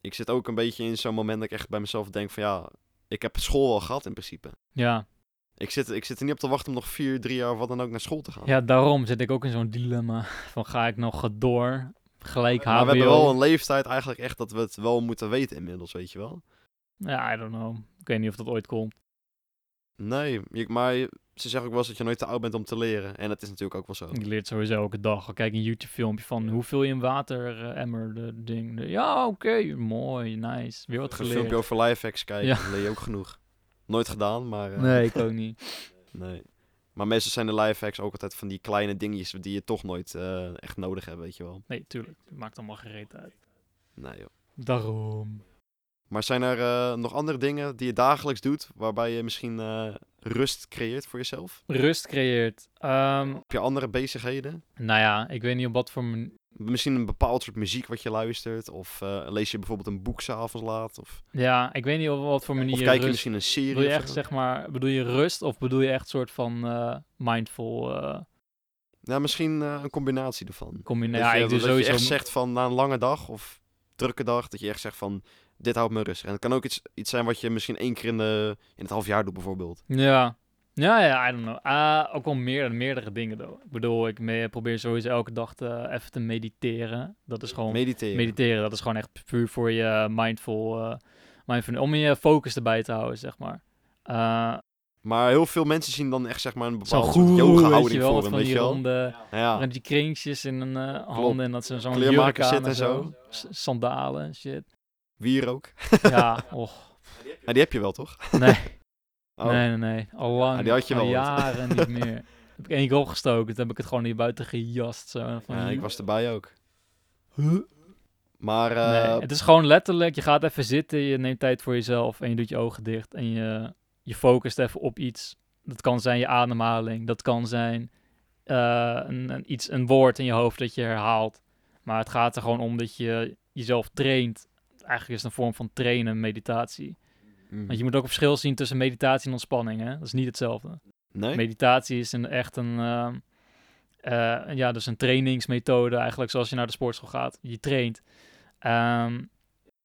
ik zit ook een beetje in zo'n moment dat ik echt bij mezelf denk van ja, ik heb school wel gehad in principe.
Ja.
Ik zit, ik zit er niet op te wachten om nog vier, drie jaar of wat dan ook naar school te gaan.
ja, daarom zit ik ook in zo'n dilemma. Van ga ik nog door? Gelijk
maar
HBO?
Nou, we hebben wel een leeftijd eigenlijk echt dat we het wel moeten weten inmiddels, weet je wel.
Ja, I don't know. Ik weet niet of dat ooit komt.
Nee, je- maar je- ze zeggen ook wel eens dat je nooit te oud bent om te leren. En dat is natuurlijk ook wel zo.
Je leert sowieso elke dag. Al Kijk een YouTube-filmpje van hoe vul je een wateremmer, de ding. De- ja, oké, mooi, nice. Weer wat
Een filmpje
geleerd.
over lifehacks kijken,
Ja.
dan leer je ook genoeg. Nooit gedaan, maar... eh,
Nee, ik ook niet.
Nee. Maar meestal zijn de lifehacks ook altijd van die kleine dingetjes die je toch nooit eh, echt nodig hebt, weet je wel.
Nee, tuurlijk. Het maakt allemaal gereed uit.
Nee, joh.
Daarom.
Maar zijn er eh, nog andere dingen die je dagelijks doet waarbij je misschien eh, rust creëert voor jezelf?
Rust creëert. Ehm,
Heb je andere bezigheden?
nou ja, ik weet niet op wat voor... man-
Misschien een bepaald soort muziek wat je luistert? Of eh, lees je bijvoorbeeld een boek s'avonds laat? Of,
Ja, ik weet niet op wat voor manier
of kijk je
rust-
misschien een serie?
Bedoel je
of
echt,
zo?
zeg maar, bedoel je rust of bedoel je echt soort van eh, mindful eh
Nou, misschien eh, een combinatie ervan.
combinatie?
dat
Nou Ja,
je,
ik doe
dat
sowieso...
je echt zegt van na een lange dag of drukke dag, dat je echt zegt van dit houdt me rustig. En het kan ook iets, iets zijn wat je misschien één keer in, de, in het half jaar doet bijvoorbeeld.
Ja. Ja, ja, I don't know. Ah, ook wel meer, meerdere dingen, though. Ik bedoel, ik me- probeer sowieso elke dag te, even te mediteren. Dat is gewoon...
Mediteren.
Mediteren, dat is gewoon echt puur voor je mindful... eh mindful om je focus erbij te houden, zeg maar. Eh,
Maar heel veel mensen zien dan echt zeg maar een
Zo'n
bepaalde soort
goeroe, weet je
yoga-houding
wel,
voor hem,
met van
weet
die
je wel.
ronde,
Ja,
met die kringetjes in hun eh,
Klopt.
handen en dat ze zo'n
Kleermaker
jurk aan
zit
en
en
zo. S- Sandalen en shit.
wier ook.
Ja, och.
Ja, die heb je wel, toch?
Nee.
Oh.
Nee, nee, nee. Al lang.
Ah, die had je
al
wel ooit.
jaren niet meer. Heb ik één goal gestoken, toen heb ik het gewoon hier buiten gejast. Zo. En Van,
Ja, ik
hier-
was erbij ook.
Huh?
Maar eh,
Nee, het is gewoon letterlijk, je gaat even zitten, je neemt tijd voor jezelf en je doet je ogen dicht en je, je focust even op iets. Dat kan zijn je ademhaling, dat kan zijn eh, een, een, iets, een woord in je hoofd dat je herhaalt. Maar het gaat er gewoon om dat je jezelf traint. Eigenlijk is het een vorm van trainen, meditatie.
mm.
Want je moet ook een verschil zien tussen meditatie en ontspanning, hè? Dat is niet hetzelfde.
nee?
Meditatie is een, echt een, ehm, eh, ja, dus een trainingsmethode eigenlijk, zoals je naar de sportschool gaat. Je traint. Ehm,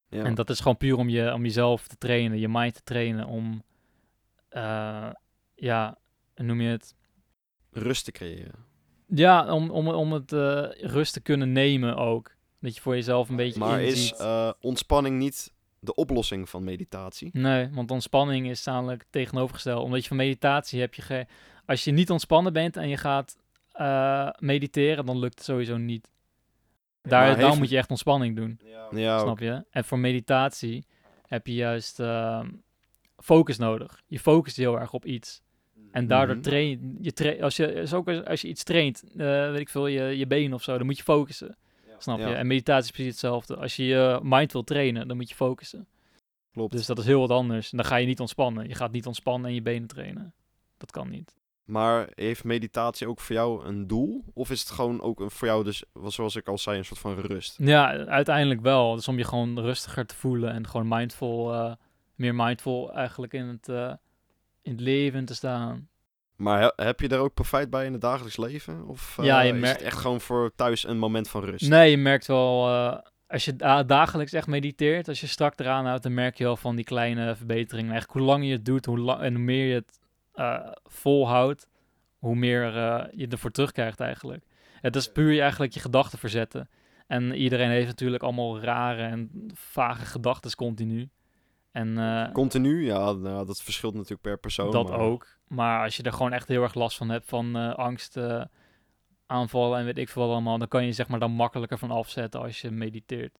Ja.
En dat is gewoon puur om, je, om jezelf te trainen, je mind te trainen, om, eh, ja, hoe noem je het?
Rust te creëren.
Ja, om, om, om het eh, rust te kunnen nemen ook. Dat je voor jezelf een beetje
Maar is
inziet.
eh, ontspanning niet de oplossing van meditatie?
Nee, want ontspanning is namelijk tegenovergesteld. Omdat je van meditatie heb je geen... Als je niet ontspannen bent en je gaat eh, mediteren, dan lukt het sowieso niet. Daar,
Maar
dan
heeft-
moet je echt ontspanning doen,
Ja,
snap je? En voor meditatie heb je juist eh, focus nodig. Je focust heel erg op iets. En daardoor
Mhm.
train je... Tra als je is ook als, als je iets traint, eh, weet ik veel, je, je been of zo, dan moet je focussen. Snap
Ja.
je? En meditatie is precies hetzelfde. Als je je mind wil trainen, dan moet je focussen.
klopt.
Dus dat is heel wat anders. En dan ga je niet ontspannen. Je gaat niet ontspannen en je benen trainen. Dat kan niet.
Maar heeft meditatie ook voor jou een doel? Of is het gewoon ook een, voor jou, dus, wel zoals ik al zei, een soort van rust?
Ja, uiteindelijk wel. Dus om je gewoon rustiger te voelen en gewoon mindful, eh, meer mindful eigenlijk in het, eh, in het leven te staan.
Maar he- heb je daar ook profijt bij in het dagelijks leven? Of eh,
Ja, je
is
mer-
het echt gewoon voor thuis een moment van rust?
Nee, je merkt wel, eh, als je da- dagelijks echt mediteert, als je strak eraan houdt, dan merk je wel van die kleine verbeteringen. Eigenlijk hoe langer je het doet hoe lang, en hoe meer je het eh, volhoudt, hoe meer eh, je ervoor terugkrijgt eigenlijk. Het is puur je eigenlijk je gedachten verzetten. En iedereen heeft natuurlijk allemaal rare en vage gedachten continu. En eh,
Continu? Ja, nou, dat verschilt natuurlijk per persoon.
dat
maar-
ook. Maar als je er gewoon echt heel erg last van hebt, van eh, angst, eh, aanvallen en weet ik veel wat allemaal, dan kan je zeg maar dan makkelijker van afzetten als je mediteert.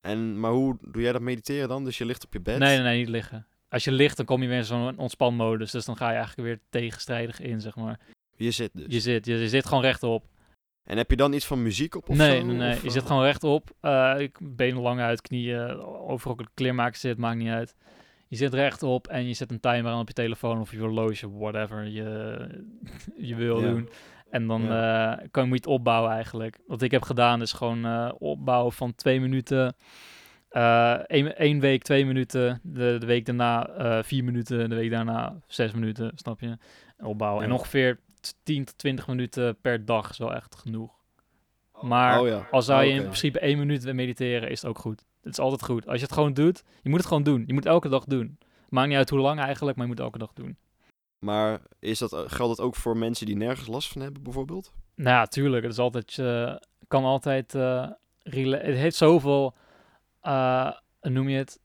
En, maar hoe doe jij dat mediteren dan? Dus je ligt op je bed?
Nee, nee, nee, niet liggen. Als je ligt, dan kom je weer in zo'n ontspanmodus. Dus dan ga je eigenlijk weer tegenstrijdig in, zeg maar.
Je zit dus.
Je zit, je, je zit gewoon rechtop.
En heb je dan iets van muziek op of
nee,
zo?
nee, nee.
Of,
je
eh,
zit gewoon rechtop. Eh, ik benen lang uit, knieën, overal kleermaker zit, maakt niet uit. Je zit rechtop en je zet een timer aan op je telefoon of je horloge, whatever je, je wil
Ja.
doen. En dan eh, kan, moet je het opbouwen eigenlijk. Wat ik heb gedaan is gewoon eh, opbouwen van twee minuten. eh één, één week twee minuten. De, de week daarna eh, vier minuten. De week daarna zes minuten, snap je? Opbouwen. En
Ja.
ongeveer t- 10 tot 20 minuten per dag is wel echt genoeg. Maar
Oh ja.
al zou je
Oké.
in principe één minuut mediteren, is het ook goed. Het is altijd goed. Als je het gewoon doet, je moet het gewoon doen. Je moet het elke dag doen. Maakt niet uit hoe lang eigenlijk, maar je moet het elke dag doen.
Maar is dat, geldt dat ook voor mensen die nergens last van hebben, bijvoorbeeld?
Nou ja, tuurlijk. Het is altijd, eh, kan altijd... eh, rela- het heeft zoveel, eh, hoe noem je het,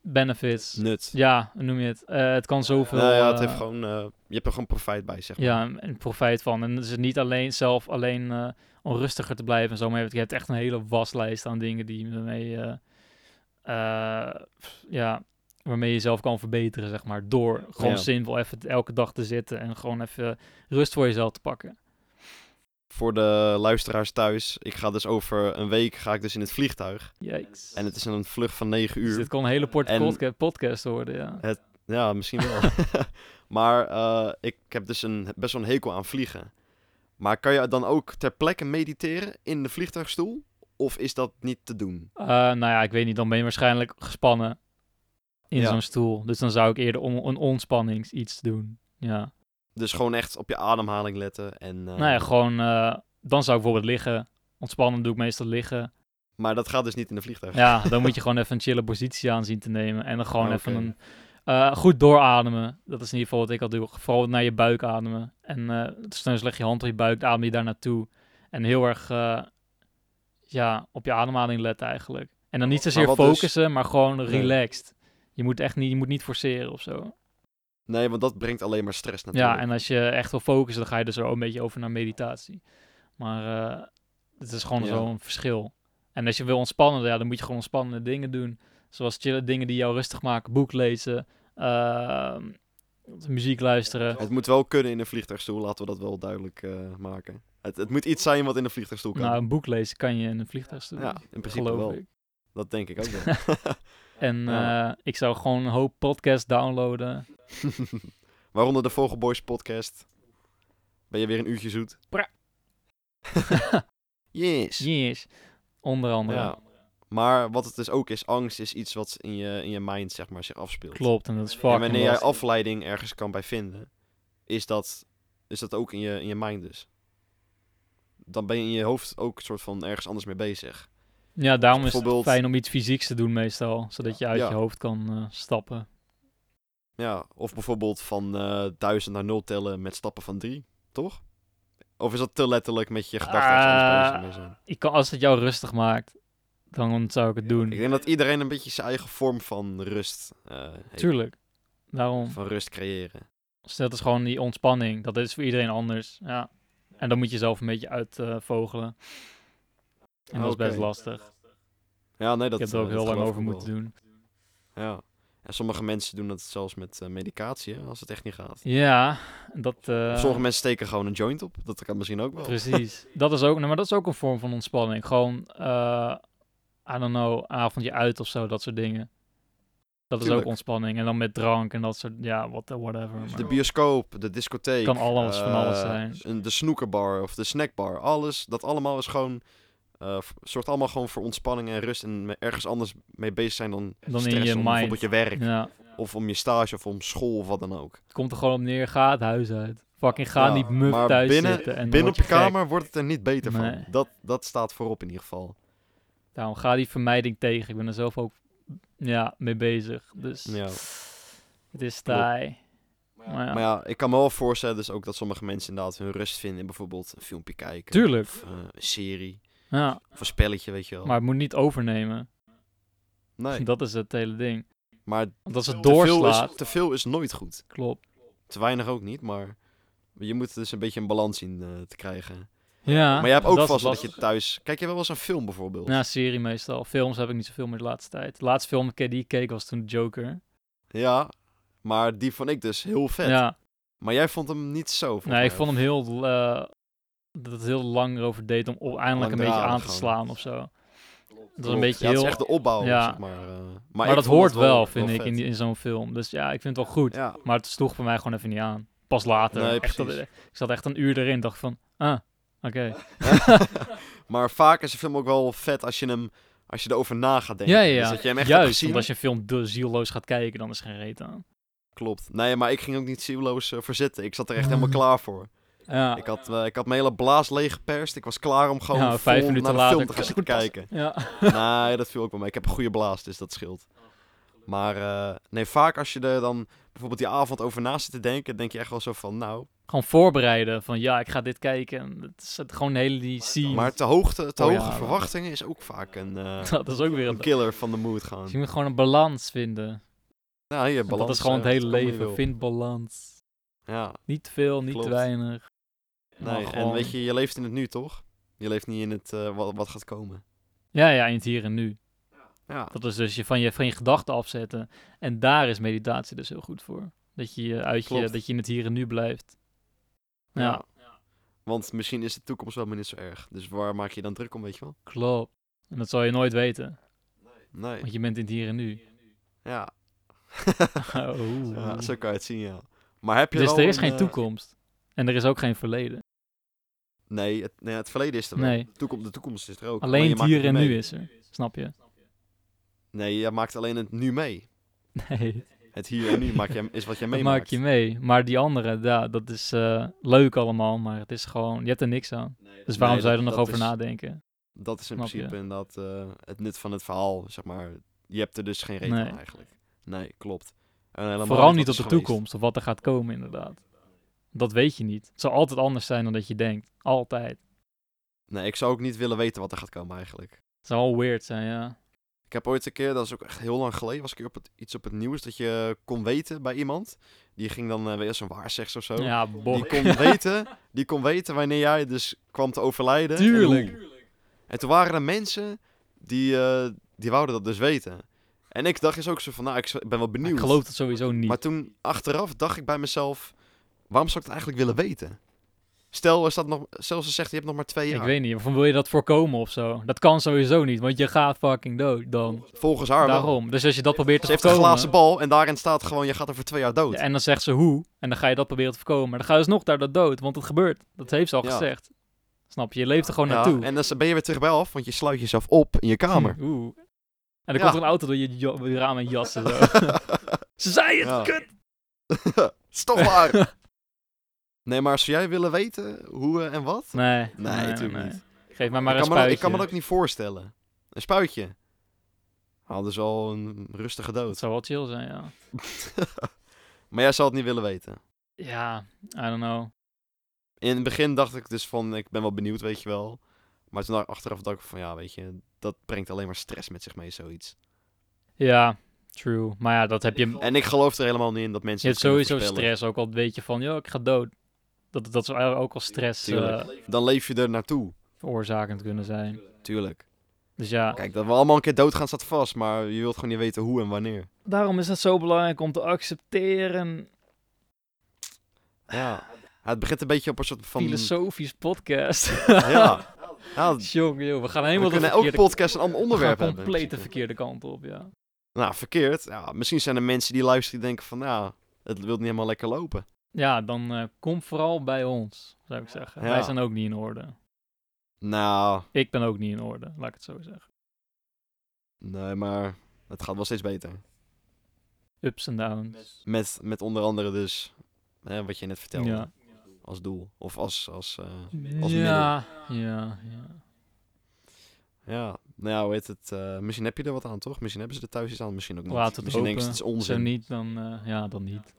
benefits.
Nut.
Ja, hoe noem je het. Eh, het kan zoveel...
Nou ja, het
eh,
heeft gewoon, eh, je hebt er gewoon profijt bij, zeg maar.
ja, een profijt van. En het is niet alleen zelf alleen eh, om rustiger te blijven en zo. Maar je hebt- je hebt echt een hele waslijst aan dingen die je mee, eh, eh, pff, ja, waarmee je jezelf kan verbeteren, zeg maar. Door gewoon
Ja.
zinvol even elke dag te zitten en gewoon even rust voor jezelf te pakken.
Voor de luisteraars thuis, ik ga dus over een week ga ik dus in het vliegtuig.
Yikes.
En het is een vlucht van 9
Dus dit
uur.
kon een hele port-
En-
podca- podcast worden, ja.
Ja, misschien wel. maar eh, ik heb dus een, best wel een hekel aan vliegen. Maar kan je dan ook ter plekke mediteren in de vliegtuigstoel? Of is dat niet te doen?
Eh, nou ja, ik weet niet, dan ben je waarschijnlijk gespannen in
Ja.
zo'n stoel. Dus dan zou ik eerder on een ontspannings iets doen, ja.
Dus gewoon echt op je ademhaling letten. En, eh,
Nou ja, gewoon, eh, dan zou ik bijvoorbeeld liggen. Ontspannen doe ik meestal liggen.
Maar dat gaat dus niet in de vliegtuig.
Ja, dan moet je gewoon even een chille positie aan zien te nemen. En dan gewoon
Ah, Oké.
even een, eh, goed doorademen. Dat is in ieder geval wat ik al doe. Vooral naar je buik ademen. En eh dus dan leg je hand op je buik, adem je daar naartoe. En heel erg eh, ja, op je ademhaling letten eigenlijk. En dan niet
Maar
zozeer
wat dus-
focussen, maar gewoon
Nee.
relaxed. Je moet echt niet, je moet niet forceren of zo.
Nee, want dat brengt alleen maar stress natuurlijk.
Ja, en als je echt wil focussen, dan ga je dus er ook een beetje over naar meditatie. Maar eh, het is gewoon
Ja.
zo'n verschil. En als je wil ontspannen, ja, dan moet je gewoon ontspannende dingen doen. Zoals chillen, dingen die jou rustig maken. Boek lezen, eh, muziek luisteren.
Het moet wel kunnen in een vliegtuigstoel, laten we dat wel duidelijk eh, maken. Het, het moet iets zijn wat in een vliegtuigstoel kan.
Nou, een boek lezen kan je in een vliegtuigstoel.
ja, in principe
geloof
wel.
ik.
Dat denk ik ook wel.
En
Ja.
eh, ik zou gewoon een hoop podcasts downloaden.
Waaronder de Vogelboys podcast. Ben je weer een uurtje zoet?
Pra.
yes.
Yes. Onder andere.
Ja. Maar wat het dus ook is, angst is iets wat in je, in je mind zeg maar, zich afspeelt.
Klopt, en dat is
En
fucking
wanneer jij
lastig.
afleiding ergens kan bij vinden, is dat, is dat ook in je, in je mind dus. Dan ben je in je hoofd ook soort van ergens anders mee bezig.
Ja, daarom is
Bijvoorbeeld-
het fijn om iets fysieks te doen meestal. Zodat je uit
Ja.
je hoofd kan eh, stappen.
Ja, of bijvoorbeeld van eh duizend naar nul tellen met stappen van drie, toch? Of is dat te letterlijk met je gedachten ergens anders bezig
Ah,
mee zijn?
Ik kan, als het jou rustig maakt, dan zou ik het doen.
Ik denk dat iedereen een beetje zijn eigen vorm van rust eh, heeft.
Tuurlijk. Daarom.
Van rust creëren.
Dus dat is gewoon die ontspanning. Dat is voor iedereen anders. Ja. En dan moet je zelf een beetje uitvogelen. en dat is best
Oké.
lastig.
Ja, nee, dat
ik heb er ook
eh,
heel
dat
lang
geloof
over
ik ook
moeten
wel.
doen.
Ja. En sommige mensen doen dat zelfs met eh, medicatie, hè, als het echt niet gaat.
Ja, dat... eh,
Of Sommige mensen steken gewoon een joint op. Dat kan misschien ook wel.
Precies. Dat is ook, nou, maar dat is ook een vorm van ontspanning. Gewoon, eh I don't know, avondje uit of zo, dat soort dingen. Dat is
Tuurlijk.
ook ontspanning. En dan met drank en dat soort, ja, what, whatever. maar
De bioscoop, de discotheek.
Kan alles van
eh,
alles zijn.
een- De snoekerbar of de snackbar. Alles, dat allemaal is gewoon... eh, v- zorgt allemaal gewoon voor ontspanning en rust. En me- ergens anders mee bezig zijn dan,
Dan in
stress.
je
om
mind.
bijvoorbeeld je werk.
ja,
Of om je stage of om school of wat dan ook.
het komt er gewoon op neer, ga het huis uit. Fucking ga
Ja,
niet muf
maar
thuis
binnen-
zitten. En dan
Binnen
word
op je
gek.
kamer wordt het er niet beter
Nee.
van. Dat, dat staat voorop in ieder geval.
Daarom ga die vermijding tegen. Ik ben er zelf ook ja, mee bezig. Dus
Ja.
het is
Klopt.
taai. Maar ja,
Maar ja, ik kan me wel voorstellen dus ook dat sommige mensen inderdaad hun rust vinden in bijvoorbeeld een filmpje kijken.
tuurlijk.
Of eh, een serie.
Ja,
Of een spelletje, weet je wel.
maar het moet niet overnemen.
nee,
Dat is het hele ding.
maar
Want als het
te veel,
doorslaat,
is, te veel is nooit goed.
klopt.
Te weinig ook niet, maar je moet dus een beetje een balans zien eh, te krijgen.
Ja,
maar je hebt ook
dat is
vast wel dat je
lastig.
thuis... Kijk je wel eens een film bijvoorbeeld?
Ja, serie meestal. Films heb ik niet zoveel meer de laatste tijd. De laatste film die ik keek was toen Joker.
Ja, maar die vond ik dus heel vet.
Ja,
Maar jij vond hem niet zo. volgens
nee, ik
mij.
vond hem heel... eh, dat het heel lang erover deed om op- eindelijk een beetje
Langdradig
aan te
gewoon.
slaan of zo. Dat is een
Klopt.
beetje
Ja, het
heel...
is echt de opbouw,
Ja.
zeg maar. eh. maar
Maar,
ik
dat
vond
hoort
het
wel, vind
heel
ik, in,
vet.
die- in zo'n film. Dus ja, ik vind het wel goed.
Ja,
Maar het sloeg voor mij gewoon even niet aan. Pas later.
Nee,
echt, dat-
precies.
ik zat echt een uur erin dacht van... Ah, oké.
maar vaak is een film ook wel vet als je hem... Als je erover na gaat denken.
Ja, ja, ja.
Dus dat je hem echt hebt
Juist,
gezien.
want als je een film de zielloos gaat kijken, dan is er geen reet aan.
Klopt. Nee, maar ik ging ook niet zielloos eh, voor zitten. Ik zat er echt helemaal
Mm.
klaar voor.
Ja,
Ik had, eh, ik had mijn hele blaas leeggeperst. Ik was klaar om gewoon
Ja,
vol
vijf minuten
naar de
later
film te gaan zitten kijken.
ja.
nee, dat viel ook wel mee. Ik heb een goede blaas, dus dat scheelt. Maar eh, nee, vaak als je er dan bijvoorbeeld die avond over na zit te denken, denk je echt wel zo van, nou...
gewoon voorbereiden. Van ja, ik ga dit kijken. En Het is het- gewoon de hele die scene.
Maar te, hoogte, te
Oh, ja,
hoge
dat-
verwachtingen is ook vaak een, eh,
dat is ook weer
een
een...
killer van de mood
Dus
gaan.
je moet gewoon een balans vinden.
Nou, hier, balans.
dat is gewoon
eh,
het hele
kom je
leven.
wil.
Vind balans.
Ja,
Niet te veel, niet
Klopt.
te weinig. Maar
nee. En
gewoon-
weet je, je leeft in het nu, toch? Je leeft niet in het eh, wat, wat gaat komen.
Ja, ja, in het hier en nu.
Ja,
Dat is dus je van je, van je gedachten afzetten. En daar is meditatie dus heel goed voor. Dat je, je uit je,
Klopt.
dat je in het hier en nu blijft. Ja,
Want misschien is de toekomst wel maar niet zo erg. Dus waar maak je dan druk om, weet je wel?
klopt. En dat zal je nooit weten.
Nee.
Want je bent in het hier en nu.
Ja.
Oeh.
ja, zo kan je het zien, ja. Maar heb je
dus
wel
er is
een,
geen
eh,
toekomst. En er is ook geen verleden.
Nee het, nee, het verleden is er wel.
Nee.
De, toekomst, de toekomst is er ook. maar
Alleen
je
het
maakt
hier en
niet
nu
mee.
is er. Snap je?
Nee, je maakt alleen het nu mee.
Nee.
Het hier en nu maak je, is wat je
Dat
meemaakt.
maak je mee. Maar die andere, ja, dat is eh, leuk allemaal, maar het is gewoon, je hebt er niks aan. Dus waarom
Nee,
zou je
dat-
er nog
dat
over
is-
nadenken?
Dat is in
Snap je?
principe inderdaad eh, het nut van het verhaal, zeg maar. Je hebt er dus geen reden
Nee.
aan eigenlijk. Nee, klopt. En helemaal
Vooral niet op
wat
de
is geweest.
toekomst of wat er gaat komen, inderdaad. Dat weet je niet. Het zal altijd anders zijn dan dat je denkt. Altijd.
Nee, ik zou ook niet willen weten wat er gaat komen eigenlijk.
Het zou al weird zijn, ja.
Ik heb ooit een keer, dat is ook echt heel lang geleden, was ik op het, iets op het nieuws dat je kon weten bij iemand. Die ging dan eh, weer zo'n waarzegster of zo.
Ja,
Die
bok.
kon, weten, die kon weten wanneer jij dus kwam te overlijden. en
Tuurlijk.
hoe. En toen waren er mensen die, eh, die wouden dat dus weten. En ik dacht eens ook zo van, nou, ik z- ben wel
Maar
benieuwd.
Ik geloof dat sowieso niet.
Maar toen achteraf dacht ik bij mezelf, waarom zou ik het eigenlijk willen weten? Stel, er staat nog, zelfs ze zegt, je hebt nog maar twee jaar.
Ik weet niet, van wil je dat voorkomen of zo? Dat kan sowieso niet, want je gaat fucking dood dan.
Volgens haar wel.
Daarom. Dus als je dat probeert te
Ze heeft een
voorkomen...
glazen bal en daarin staat gewoon, je gaat er voor twee jaar dood.
Ja, en dan zegt ze hoe, en dan ga je dat proberen te voorkomen. Maar dan ga je dus nog daar dat dood, want het gebeurt. Dat heeft ze al
Ja.
gezegd. Snap je? Je leeft er gewoon
Ja,
naartoe.
en dan ben je weer terug bij af, want je sluit jezelf op in je kamer.
Hm, Oeh. En dan
Ja.
komt er een auto door je, jo- door je raam en jassen. Zo. ze zei het,
Ja.
kut!
is toch waar? nee, maar zou jij willen weten hoe eh, en wat?
Nee.
Nee, natuurlijk niet.
Geef mij maar
ik, kan me dat,
een spuitje.
ik kan me dat ook niet voorstellen. Een spuitje. Ah, Hadden ze al een rustige
Dat
dood.
zou wel chill zijn, ja.
maar jij zou het niet willen weten.
Ja, I don't know.
In het begin dacht ik dus van, ik ben wel benieuwd, weet je wel. Maar toen achteraf dacht ik van, ja, weet je, dat brengt alleen maar stress met zich mee, zoiets.
Ja, true. Maar ja, dat heb je...
En ik geloof er helemaal niet in dat
Je
mensen
hebt
het kunnen
sowieso
voorspellen.
stress, ook al weet je van, joh, ik ga dood. Dat, dat zou eigenlijk ook al stress
Tuurlijk.
eh,
Dan leef je er naartoe,
veroorzakend kunnen zijn.
tuurlijk.
Dus ja,
Kijk, dat we allemaal een keer doodgaan staat vast, maar je wilt gewoon niet weten hoe en wanneer.
daarom is het zo belangrijk om te accepteren.
Ja. Ja, Het begint een beetje op een soort van...
Filosofisch podcast.
Ja. ja
Jongen, joh, we gaan
we
helemaal de
kunnen
verkeerde
elke podcast een ander
we gaan
onderwerp hebben.
compleet de verkeerde kant op, ja.
Nou, verkeerd. Ja, misschien zijn er mensen die luisteren die denken van, nou, het wil niet helemaal lekker lopen.
Ja, dan eh, kom vooral bij ons, zou ik zeggen.
Ja.
Wij zijn ook niet in orde.
Nou,
Ik ben ook niet in orde, laat ik het zo zeggen.
nee, maar het gaat wel steeds beter.
Ups en downs.
Met, met onder andere dus, hè, wat je net vertelde,
Ja.
als doel. Of als, als eh,
Ja,
Als
ja, ja, ja.
ja, nou ja, hoe heet het, eh, misschien heb je er wat aan, toch? Misschien hebben ze er thuis iets aan, misschien ook niet.
Laat het
misschien denken ze,
hopen.
het is onzin.
Zo niet, dan, eh, ja, dan niet.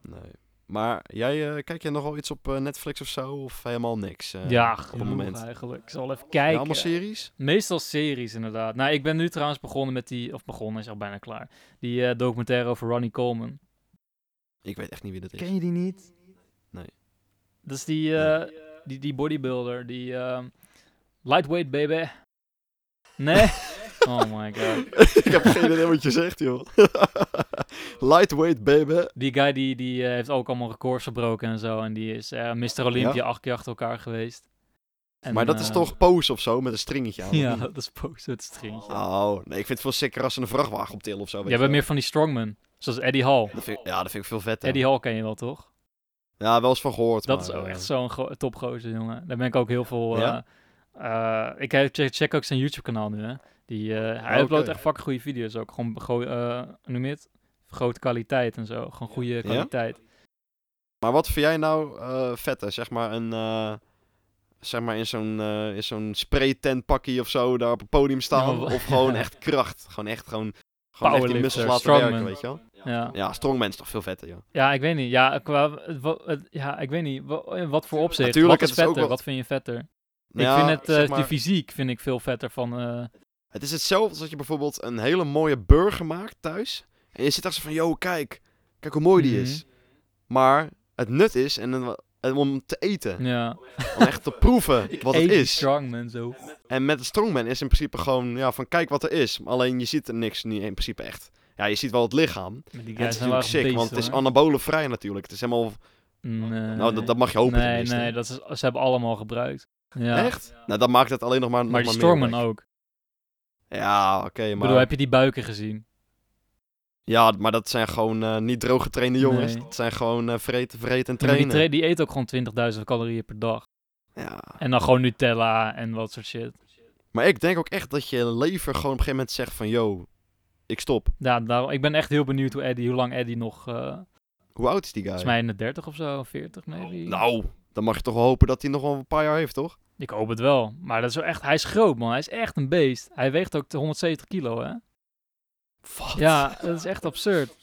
Nee. Maar jij, eh, kijk jij nogal iets op eh, Netflix of zo? Of helemaal niks? eh,
ja,
op het
genoeg
moment.
eigenlijk. Ik zal even
Ja,
kijken.
allemaal series?
Meestal series, inderdaad. Nou, ik ben nu trouwens begonnen met die... Of begonnen, is al bijna klaar. Die eh, documentaire over Ronnie Coleman.
Ik weet echt niet wie dat is.
Ken je die niet?
Nee.
Dat is die, eh, die, die bodybuilder, die... ehm, lightweight, baby. Nee? oh my god.
ik heb geen idee wat je zegt, joh. Lightweight, baby.
Die guy die, die eh, heeft ook allemaal records verbroken en zo. En die is eh Mr. Olympia acht keer achter elkaar geweest. En,
maar dat is
eh,
toch pose of zo, met een stringetje aan? of
Ja,
niet?
dat is pose het stringetje.
Oh, nee, ik vind het veel sicker als ze een vrachtwagen optillen of zo. weet
Jij
je
bent
wel.
meer van die strongman. Zoals Eddie Hall.
Dat vind ik- ja, dat vind ik veel vetter.
Eddie Hall ken je wel, toch?
Ja, wel eens van gehoord.
Dat
maar,
is ook
eh,
echt zo'n gro- topgozer, jongen. Daar ben ik ook heel veel... eh,
Ja?
eh, ik heb- check, check ook zijn YouTube-kanaal nu, hè. Die, eh, hij
Oh, Oké.
uploadt echt fucking goede video's ook. Gewoon, go- eh, hoe noem je het? Grote kwaliteit en zo. Gewoon goede kwaliteit.
Maar wat vind jij nou eh, vetter? Zeg maar een... eh, Zeg maar in zo'n eh, in zo'n spraytent pakkie of zo, daar op het podium staan.
Ja, maar-
of gewoon echt kracht. Gewoon echt gewoon, gewoon echt die
Powerlifter,
muscles laten
strongman.
werken, weet je wel?
Ja.
Ja, strongman is toch veel vetter, joh.
ja, ik weet niet. Ja, qua, wa- het- ja ik weet niet. Wa- in wat voor opzicht?
Natuurlijk,
wat
het
is
is ook
vetter?
wel-
Wat vind je vetter?
Ja,
ik vind het, eh,
zeg maar-
de fysiek vind ik veel vetter van... eh,
Het is hetzelfde als dat je bijvoorbeeld een hele mooie burger maakt thuis. En je zit daar zo van, yo, kijk. Kijk hoe mooi die
Mhm.
is. Maar het nut is en, een- en om te eten.
ja.
Om echt te proeven wat het
Eet die
is.
strongman zo.
En met de strongman is in principe gewoon, ja, van kijk wat er is. Alleen je ziet er niks niet in principe echt. Ja, je ziet wel het lichaam.
Maar die
En het
guys
is
zijn wel
natuurlijk
echt
sick, want het is
beesten,
anabolenvrij natuurlijk. Het is helemaal,
hoor. Nee.
nou, dat, dat mag je hopen
Nee,
tenminste.
nee, dat is, ze hebben allemaal gebruikt. Ja.
Echt? Nou, dat maakt het alleen nog maar nog
Maar die
meer
Stormen
weg.
ook.
Ja, oké,
Ik
maar...
bedoel, heb je die buiken gezien?
Ja, maar dat zijn gewoon eh, niet droog getrainde jongens.
Nee.
Dat zijn gewoon eh vreten, vreten en
Ja, maar
trainen.
die, tra- die eet ook gewoon 20.000 calorieën per dag.
Ja.
En dan gewoon Nutella en wat soort shit.
Maar ik denk ook echt dat je lever gewoon op een gegeven moment zegt van... Yo, ik stop.
Ja, daarom, ik ben echt heel benieuwd hoe, Eddie, hoe lang Eddie nog... eh
Hoe oud is die guy?
volgens mij in de 30 of zo, 40 maybe.
Nou, dan mag je toch wel hopen dat hij nog wel een paar jaar heeft, toch?
Ik hoop het wel. Maar dat is wel echt... Hij is groot, man. Hij is echt een beest. Hij weegt ook 170 kilo, hè?
Wat?
Ja, dat is echt absurd.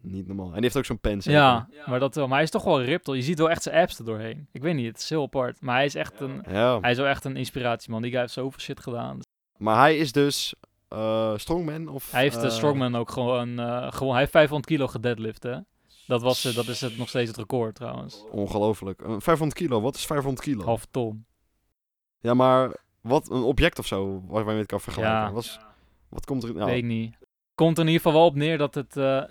Niet normaal. En die heeft ook zo'n pens.
Ja, maar, dat wel. maar hij is toch wel ripped. hoor. Je ziet wel echt zijn apps erdoorheen. Ik weet niet, het is heel apart. Maar hij is echt een...
Ja.
Hij is wel echt een inspiratie, man. Die guy heeft zoveel shit gedaan.
Maar hij is dus eh, strongman of...
Hij heeft de
eh,
Strongman ook gewoon, eh, gewoon... Hij heeft 500 kilo gedeadlift, hè? Dat, was, eh, dat is het, nog steeds het record, trouwens.
Ongelooflijk. Eh, 500 kilo, wat is 500 kilo?
Half ton.
Ja, maar wat een object of zo waar- waarmee je het kan vergelijken.
Ja.
Wat, is- wat komt er... Nou,
Weet ik niet. Komt er in ieder geval wel op neer dat het... eh,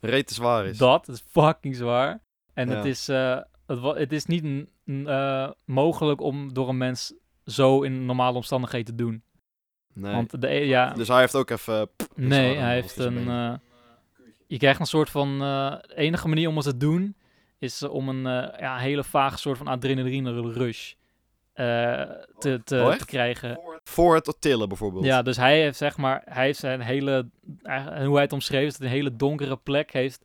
reet te zwaar is.
Dat is fucking zwaar. En het,
Ja.
is, eh, het, wa- het is niet n- n- eh, mogelijk om door een mens zo in normale omstandigheden te doen.
Nee.
Want de, e- ja,
Dus hij heeft ook even...
nee,
zwaar
hij
dan dus
heeft
als
een.
zijn benen.
eh, je krijgt een soort van. eh, de enige manier om het te doen is eh, om een eh, ja, hele vage soort van adrenaline rush eh, te, te,
Oh, echt?
te krijgen.
Voor het tillen bijvoorbeeld.
eh, Ja, dus hij heeft zeg maar, hij heeft zijn hele, eh, hoe hij het omschreef, is dat hij een hele donkere plek heeft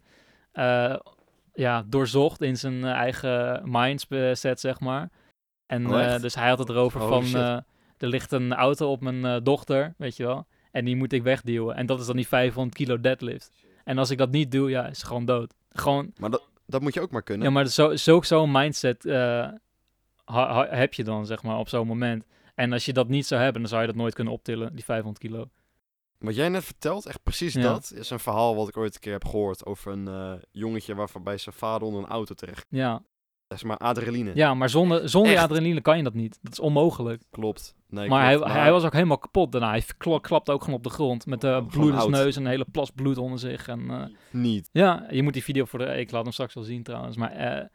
eh, ja, doorzocht in zijn eh, eigen mindset, zeg maar. En
Oh,
eh,
echt?
dus hij had het erover
Holy
van,
shit.
eh, er ligt een auto op mijn eh, dochter, weet je wel, en die moet ik wegduwen. En dat is dan die 500 kilo deadlift. En als ik dat niet doe, ja, is ze gewoon dood. Gewoon,
Maar dat, dat moet je ook maar kunnen.
ja, maar zo, zo, zo'n mindset eh, ha- ha- heb je dan, zeg maar, op zo'n moment. En als je dat niet zou hebben, dan zou je dat nooit kunnen optillen, die 500 kilo.
Wat jij net vertelt, echt precies
Ja.
dat, is een verhaal wat ik ooit een keer heb gehoord over een eh, jongetje waarvan bij zijn vader onder een auto terecht.
Ja,
Dat is maar adrenaline.
ja maar zonder, zonder die
Echt.
adrenaline kan je dat niet. Dat is onmogelijk.
Klopt. Nee,
maar hij,
klopt.
hij was ook helemaal kapot daarna. Hij kla- klapte ook gewoon op de grond met eh
Oh, Gewoon
bloed in zijn
oud.
neus en een hele plas bloed onder zich. En, eh,
Niet.
ja, je moet die video voor de... Ik laat hem straks wel zien trouwens. Maar eh,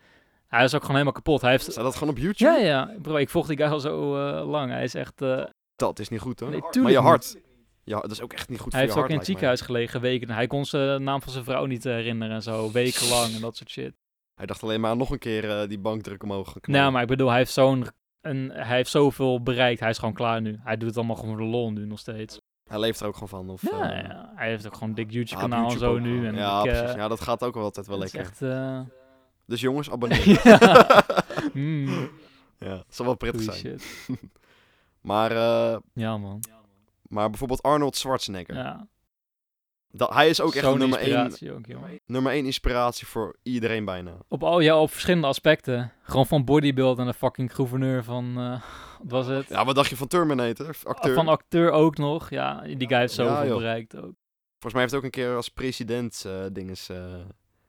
hij is ook gewoon helemaal kapot. Hij heeft...
Staat dat gewoon op YouTube?
Ja, ja. Bro, ik volg die guy al zo eh, lang. Hij is echt... eh,
Dat is niet goed hoor.
nee,
maar
tuurlijk
je
niet.
hart. Ja, dat is ook echt niet goed voor
Hij heeft
je
ook
hart.
in het
lijkt mij.
ziekenhuis gelegen weken. Hij kon zijn naam van zijn vrouw niet herinneren en zo. Wekenlang en dat soort shit.
Hij dacht alleen maar aan nog een keer eh, die bankdruk omhoog gaan knallen.
Nou, maar ik bedoel, hij heeft, zo'n, een, hij heeft zoveel bereikt. Hij is gewoon klaar nu. Hij doet het allemaal gewoon voor de lol nu nog steeds.
Hij leeft er ook gewoon van. Of,
Ja,
eh,
ja, hij heeft ook gewoon een dik
ja,
YouTube-kanaal
op
en
YouTube
zo
ook.
nu. En
ja,
ik, eh,
precies. Ja, dat gaat ook wel altijd wel
het is
lekker.
echt... eh,
Dus jongens, abonneer.
ja. Mm,
ja, dat zal wel prettig
goeie
zijn.
shit.
Maar, eh,
Ja, man.
maar bijvoorbeeld Arnold Schwarzenegger.
Ja.
Dat, hij is ook echt
Zo'n
nummer één,
inspiratie ook, joh.
nummer één inspiratie voor iedereen bijna.
Op, al, ja, op verschillende aspecten. Gewoon van bodybuild en de fucking gouverneur van... eh, wat was het?
Ja, wat dacht je van Terminator? Acteur.
Oh, Van acteur ook nog. Ja, die guy heeft
Ja,
zoveel
joh.
bereikt ook.
Volgens mij heeft hij ook een keer als president eh dinges eh,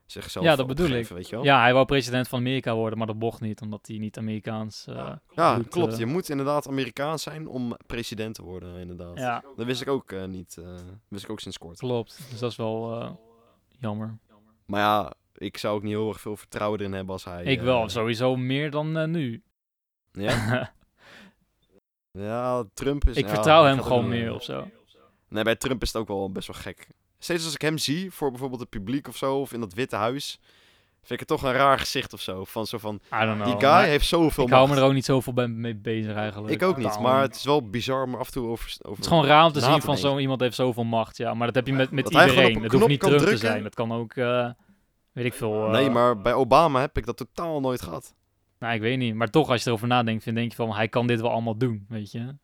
zichzelf
Ja, dat bedoel
opgegeven, weet je wel?
Ja, hij wou president van Amerika worden, maar dat mocht niet, omdat hij niet Amerikaans... eh,
Ja,
Goed,
klopt.
eh.
Je moet inderdaad Amerikaans zijn om president te worden, inderdaad.
ja.
Dat wist ik ook eh, niet. eh, wist ik ook sinds kort.
Klopt, dus dat is wel eh, jammer.
Maar ja, ik zou ook niet heel erg veel vertrouwen erin hebben als hij...
ik
eh,
wel, sowieso meer dan eh, nu.
Ja? Dus nou, ja, Trump is...
ik
ja,
vertrouw
hij
hem
gaat
gewoon
er niet-
meer of zo.
Nee, bij Trump is het ook wel best wel gek. Steeds als ik hem zie, voor bijvoorbeeld het publiek of zo, of in dat Witte Huis, vind ik het toch een raar gezicht of zo. Van zo van,
I don't know.
die guy
Nou, maar
heeft zoveel
ik hou me
macht.
er ook niet zoveel bij- mee bezig eigenlijk.
Ik ook niet,
Daarom.
maar het is wel bizar om er af en toe over... over...
Het is gewoon raar om te
na
zien
te
van
denken.
zo iemand heeft zoveel macht, ja. Maar dat heb je met, met
Dat hij gewoon op een
iedereen. Het hoeft
knop
niet
kan
terug te
drukken.
zijn. Dat kan ook, eh, weet ik veel. eh,
Nee, maar bij Obama heb ik dat totaal nooit gehad.
Nou, ik weet niet. Maar toch, als je erover nadenkt, vind, denk je van, hij kan dit wel allemaal doen, weet je.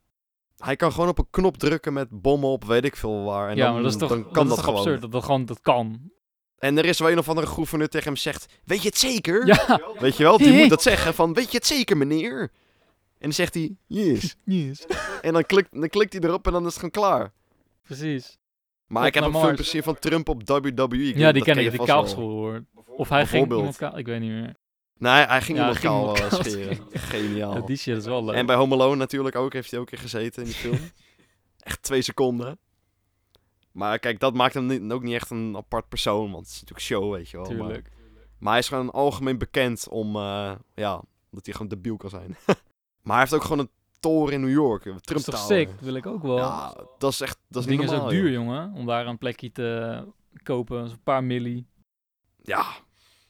Hij kan gewoon op een knop drukken met bommen op weet ik veel waar. En
ja,
dan,
maar dat is toch,
dan
dat
kan
is
dat,
toch
gewoon.
absurd dat dat gewoon dat kan.
En er is wel een of andere gouverneur tegen hem zegt, weet je het zeker?
Ja.
Weet je wel, die
Hey, hey.
moet dat zeggen van, weet je het zeker meneer? En dan zegt hij, yes.
Yes.
en dan klikt, dan klikt hij erop en dan is het gewoon klaar.
Precies.
Maar
Op
ik heb
naar
ook veel
Mars.
plezier van Trump op E. WWE.
Ja, die ken
je
ik.
vast
Die
wel.
kaalgeschoren hoor. Of hij ging
Bijvoorbeeld.
iemand kaal... Ik weet niet meer.
Nee, hij ging
Ja,
iemand
ging
kaal
iemand
eh,
kaal
scheren. Geniaal.
Ja, die shit is wel leuk.
Oh. En bij Home Alone natuurlijk ook, heeft hij ook in gezeten in die film. echt twee seconden. Maar kijk, dat maakt hem niet- ook niet echt een apart persoon, want het is natuurlijk show, weet je wel. maar-
Tuurlijk.
Maar hij is gewoon algemeen bekend om, eh, ja, dat hij gewoon debiel kan zijn. maar hij heeft ook gewoon een toren in New York, een
Dat
Trump
is toch
Tower.
sick? Wil ik ook wel.
Ja, dat is echt, dat
dat
is niet
ding is
normaal.
ook duur, jongen. Om daar een plekje te kopen. Dat is Een paar milli.
joh. Ja.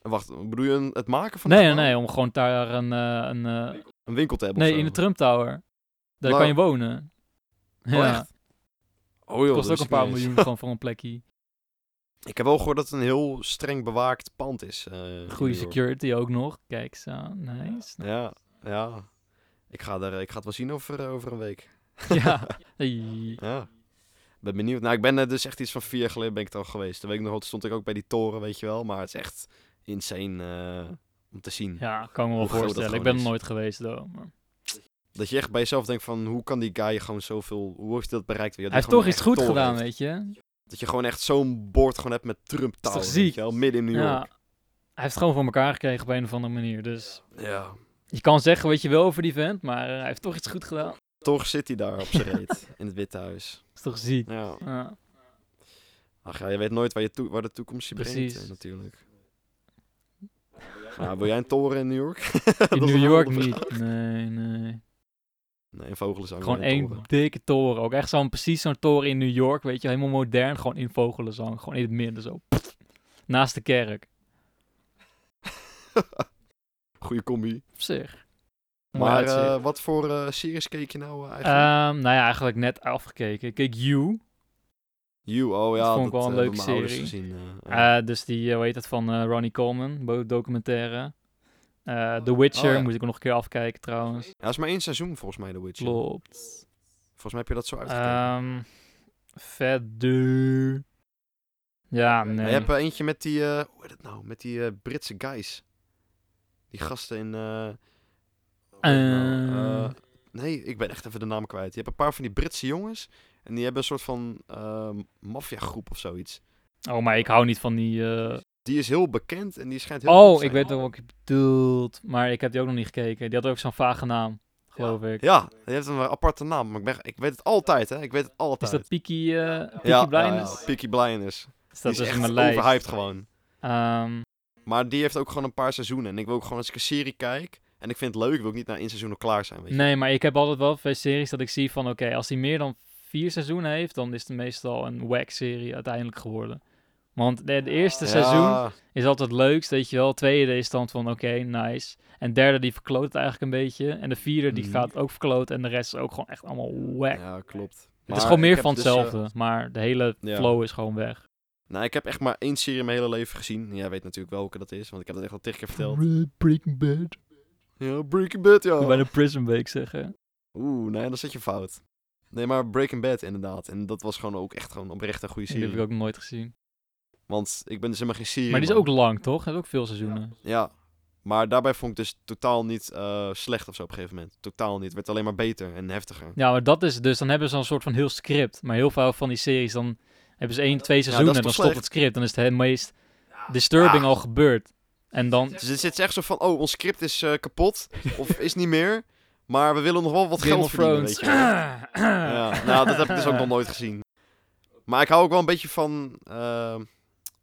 En Wacht, bedoel je een- het maken van
Nee,
een
nee,
gebouw?
nee. Om gewoon daar een... eh, een eh,
Een winkel te hebben of
nee,
zo?
in de Trump Tower. Daar
Nou.
kan je wonen.
Oh,
Ja.
echt? Oh joh,
kost
dat
ook
wist
een
ik niet
paar
eens.
miljoen gewoon voor een plekje.
Ik heb wel gehoord dat het een heel streng bewaakt pand is. eh, in New
Goede
York.
security ook nog. Kijk, zo. Nice.
Ja, ja. Ik ga, daar, ik ga het wel zien over, eh, over een week.
ja. Hey.
Ja. Ik ben benieuwd. Nou, ik ben er dus echt iets van vier jaar geleden ben ik er al geweest. De week nog wat stond ik ook bij die toren, weet je wel. Maar het is echt insane eh, om te zien.
Ja, kan ik me wel
Hoe groot dat
voorstellen. Ik
gewoon
ben er
is.
nooit geweest, though. maar-
Dat je echt bij jezelf denkt van, hoe kan die guy gewoon zoveel... Hoe heeft hij dat bereikt? Ja, die
Hij heeft
gewoon
toch iets
echt
goed
door
gedaan,
heeft.
weet je.
Dat je gewoon echt zo'n bord gewoon hebt met Trump taal.
toch
weet
ziek?
je wel, midden in New York.
Ja. Hij heeft het gewoon voor elkaar gekregen op een of andere manier. Dus
Ja.
je kan zeggen wat je wil over die vent, maar eh, hij heeft toch iets goed gedaan.
Toch zit hij daar op zijn reet in het Witte Huis.
Dat is toch ziek.
Ja.
Ja.
Ach ja, je weet nooit waar, je toe- waar de toekomst je brengt
Precies.
eh, natuurlijk. Nou, wil jij een toren in New York?
In
is
New
een
York
andere
niet. Nee, nee.
Nee, een vogel is ook
Gewoon
wel een
één
toren.
dikke toren. Ook echt zo'n, precies zo'n toren in New York, weet je. Helemaal modern, gewoon in vogelenzang. Gewoon in het midden zo. Pff. Naast de kerk.
Goeie combi.
Op zich. Mooi
Maar
uitzicht.
eh, wat voor eh, series keek je nou eh, eigenlijk?
Ehm, nou ja, eigenlijk net afgekeken. Ik keek You.
you, oh ja,
dat vond ik wel
eh,
een
hebben
leuke
mijn ouders
serie.
gezien. eh, eh.
Eh, dus die, eh, hoe heet dat, van eh, Ronnie Coleman, bo- documentaire. Eh, The Witcher,
Oh, ja.
moet ik nog een keer afkijken trouwens.
ja, is maar één seizoen volgens mij, The Witcher.
Klopt.
Volgens mij heb je dat zo uitgekeken.
Ehm verder... Ja,
Maar
nee.
Je hebt er eentje met die, eh, hoe heet het nou, met die eh, Britse guys. Die gasten in... eh, hoe heet het nou?
Eh.
Eh, nee, ik ben echt even de naam kwijt. Je hebt een paar van die Britse jongens. En die hebben een soort van eh maffiagroep of zoiets.
Oh, maar ik hou niet van die... eh,
Die is heel bekend en die schijnt heel goed te
Oh, ik
zijn.
weet wel wat je bedoelt. Maar ik heb die ook nog niet gekeken. Die had ook zo'n vage naam, geloof ik.
Ja, die heeft een aparte naam. Maar ik, ben, ik weet het altijd, hè. Ik weet het
Is
altijd.
dat Peaky, eh Peaky
ja,
Blinders?
Ja, ja. Peaky Blinders.
Is
Die
dat
is
dus
echt
in mijn lijst?
overhyped gewoon.
Ehm,
Maar die heeft ook gewoon een paar seizoenen. En ik wil ook gewoon als ik een serie kijk... En ik vind het leuk, wil ik niet na één seizoen al klaar zijn, weet je.
nee, maar ik heb altijd wel bij series dat ik zie van... Oké, als hij meer dan vier seizoenen heeft... dan is het meestal een whack-serie uiteindelijk geworden. Want de, de eerste
Ja,
seizoen is altijd het leukst, weet je wel. Tweede is dan van, oké, nice. En derde, die verkloot het eigenlijk een beetje. En de vierde, die
Mhm.
gaat het ook verkloten. En de rest is ook gewoon echt allemaal whack.
Ja, klopt.
het is gewoon meer van hetzelfde.
hetzelfde.
maar de hele
ja.
flow is gewoon weg.
dus, eh, nou, ik heb echt maar één serie mijn hele leven gezien. En Jij weet natuurlijk welke dat is, want ik heb dat echt al tig keer verteld.
Re- Breaking Bad.
Ja, Breaking Bad,
Ik wil
ja.
bijna Prison Break zeggen.
Oeh, nee, dan zit je fout. Nee, maar Breaking Bad inderdaad. En dat was gewoon ook echt gewoon oprecht een goede
Die heb
serie.
ik ook nooit gezien.
Want ik ben dus helemaal geen serie.
Maar die is ook lang, toch? Heeft ook veel seizoenen.
Ja, maar daarbij vond ik dus totaal niet eh, slecht of zo op een gegeven moment. Totaal niet. Het werd alleen maar beter en heftiger.
Ja, maar dat is dus... Dan hebben ze een soort van heel script. Maar heel veel van die series, dan hebben ze één, twee
dat is
seizoenen... en
toch
dan stopt
slecht?
het script. Dan is het he- meest disturbing al gebeurd. En dan...
Dus het zit echt zo van, oh, ons script is eh, kapot. of is niet meer. Maar we willen nog wel wat
Game
geld
of
verdienen,
Thrones.
weet je wel. Ja, nou, dat heb ik dus ook nog nooit gezien. Maar ik hou ook wel een beetje van eh,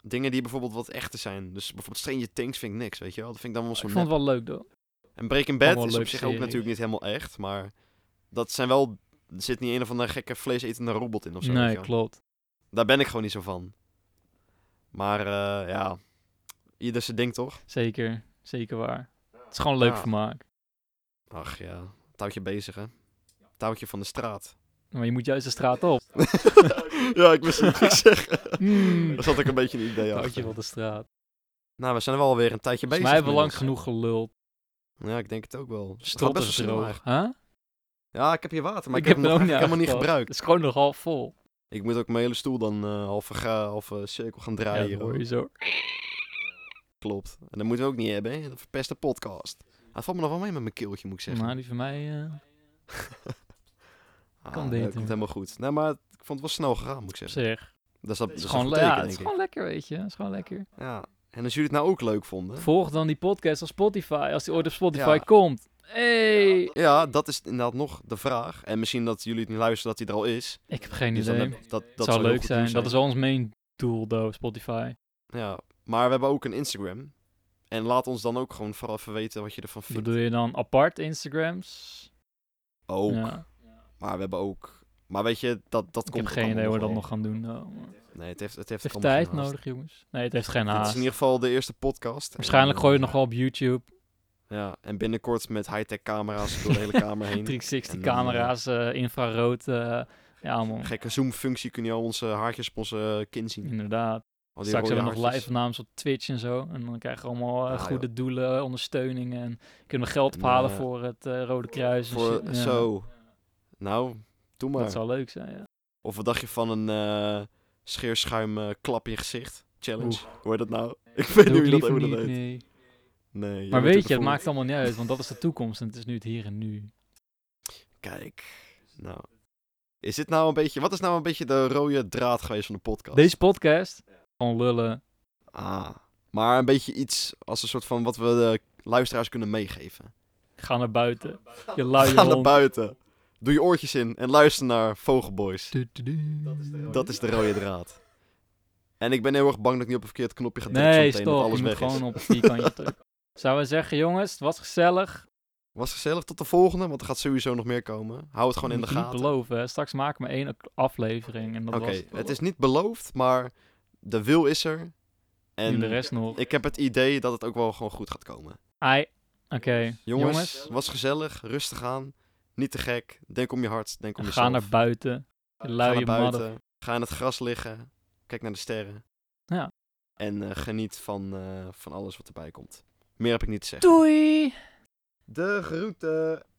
dingen die bijvoorbeeld wat echter zijn. Dus bijvoorbeeld Stranger Things vind ik niks, weet je wel. Dat vind ik dan wel
Ik
zo'n
vond het
nep.
wel leuk, though.
En Breaking
wel
Bad
een
is op
leuke
zich ook
serie.
natuurlijk niet helemaal echt, maar dat zijn wel... Er zit niet een of andere gekke vleesetende robot in of zo. weet je
Nee,
wel.
klopt.
Daar ben ik gewoon niet zo van. Maar eh, ja, ieder zijn ding toch?
Zeker. Zeker waar. Het is gewoon leuk
Ja.
vermaak.
Ach ja, touwtje bezig hè. Touwtje van de straat.
Maar je moet juist de straat op.
ja, ik wist niet wat ik zeggen.
Mm.
Daar zat ik een beetje een idee
Houd je
achter.
wel de straat.
Nou, we zijn er wel alweer een tijdje
Volgens
bezig.
mij hebben we lang
inmiddels.
genoeg geluld.
Ja, ik denk het ook wel. Het gaat
Strot
best
is
wel snel
droog.
eigenlijk.
Huh?
Ja, ik heb hier water, maar ik, heb hem nog
er ook
eigenlijk helemaal niet
aangepast.
gebruikt.
Het is gewoon nog half vol.
Ik moet ook mijn hele stoel dan eh halve ga- halve cirkel gaan draaien.
ja,
hier,
dat hoor
hoor.
je zo.
Klopt. En dat moeten we ook niet hebben, hè? Dat verpest de podcast. Hij valt me nog wel mee met mijn keeltje, moet ik zeggen.
Maar die van mij... eh,
Ah,
kan
nee,
beter.
Dat komt helemaal goed. Nee, maar ik vond het wel snel gegaan, moet ik
op
zeggen.
zich. Het
Dat is, dat, dat
is
is
gewoon,
een
le-
goed
ja,
teken,
het is
denk ik.
gewoon lekker, weet je. Het is gewoon lekker.
Ja. En als jullie het nou ook leuk vonden...
Volg dan die podcast op Spotify. Als die ooit op Spotify
Ja.
komt. Hey!
Ja, dat is inderdaad nog de vraag. En misschien dat jullie het niet luisteren dat hij er al is.
Ik heb geen
Dus
idee.
dan
Het
heb- dat, dat
zou
heel
leuk
goed
zijn.
nieuws
Dat is wel ons main doel, though, Spotify.
Ja, maar we hebben ook een Instagram. En laat ons dan ook gewoon vooral even weten wat je ervan vindt.
Bedoel je dan apart Instagrams?
Ook,
Ja.
Oh, maar we hebben ook... Maar weet je, dat, dat
Ik
komt
heb
ook
geen
allemaal
idee hoe we dat
wel.
nog gaan doen. though, maar-
Nee, het heeft, het heeft,
Het heeft
allemaal geen
tijd
haast.
nodig, jongens. Nee, het heeft geen
Dit is
haast.
in ieder geval de eerste podcast.
Waarschijnlijk
En, eh,
gooi je het nog wel op YouTube.
Ja, en binnenkort met high-tech camera's door de hele kamer heen.
360
En dan, eh,
camera's, eh, infrarood. eh, ja, man.
Gekke zoom-functie kun je al onze haartjes op onze eh, kin zien.
Inderdaad.
Al die
Straks
rode
hebben we nog
haartjes.
live naams op Twitch en zo. En dan krijgen we allemaal eh,
Ah,
goede doelen, ondersteuningen. En kunnen we geld
En,
ophalen
eh,
voor het eh, Rode Kruis. en
Voor,
shit. Ja,
Zo. Nou, doe maar.
Dat zou leuk zijn, ja.
Of wat dacht je van een eh, scheerschuim eh, klap in je gezicht? Challenge. Hoor je dat nou? Ik weet niet hoe
Doe ik
je dat,
liever
hoe
niet,
dat heet.
nee.
Nee,
Maar
wordt
weet
er
je, het
gevoerd.
maakt allemaal niet uit, want dat is de toekomst en het is nu het hier en nu.
Kijk, nou. Is dit nou een beetje, wat is nou een beetje de rode draad geweest van de podcast?
Deze podcast, gewoon lullen.
Ah, maar een beetje iets als een soort van wat we de luisteraars kunnen meegeven.
Ga naar buiten. Je luie
Ga naar
hond.
buiten. Doe je oortjes in en luister naar Vogelboys. Dat is de rode draad. En ik ben heel erg bang dat ik niet op een verkeerd knopje ga drukken
Nee,
zometeen, dat
stop.
alles
Je moet
weg is.
gewoon op het vierkantje drukken. Zou we zeggen, jongens, het was gezellig.
Was gezellig, tot de volgende, want er gaat sowieso nog meer komen. Hou het gewoon in de
Moet je Niet
gaten.
beloven. hè. Straks maak ik maar één aflevering en dat
Oké,
was het.
het is niet beloofd, maar de wil is er. En
de rest nog.
ik heb het idee dat het ook wel gewoon goed gaat komen.
Ai. Oké.
Jongens,
Jongens.
was gezellig, rustig aan. Niet te gek, denk om je hart, denk om
Ga
jezelf.
naar buiten. Je
Ga
luie
naar
madder.
buiten, ga in het gras liggen, kijk naar de sterren.
Ja.
En eh, geniet van, eh, van alles wat erbij komt. Meer heb ik niet te zeggen.
Doei!
De groeten!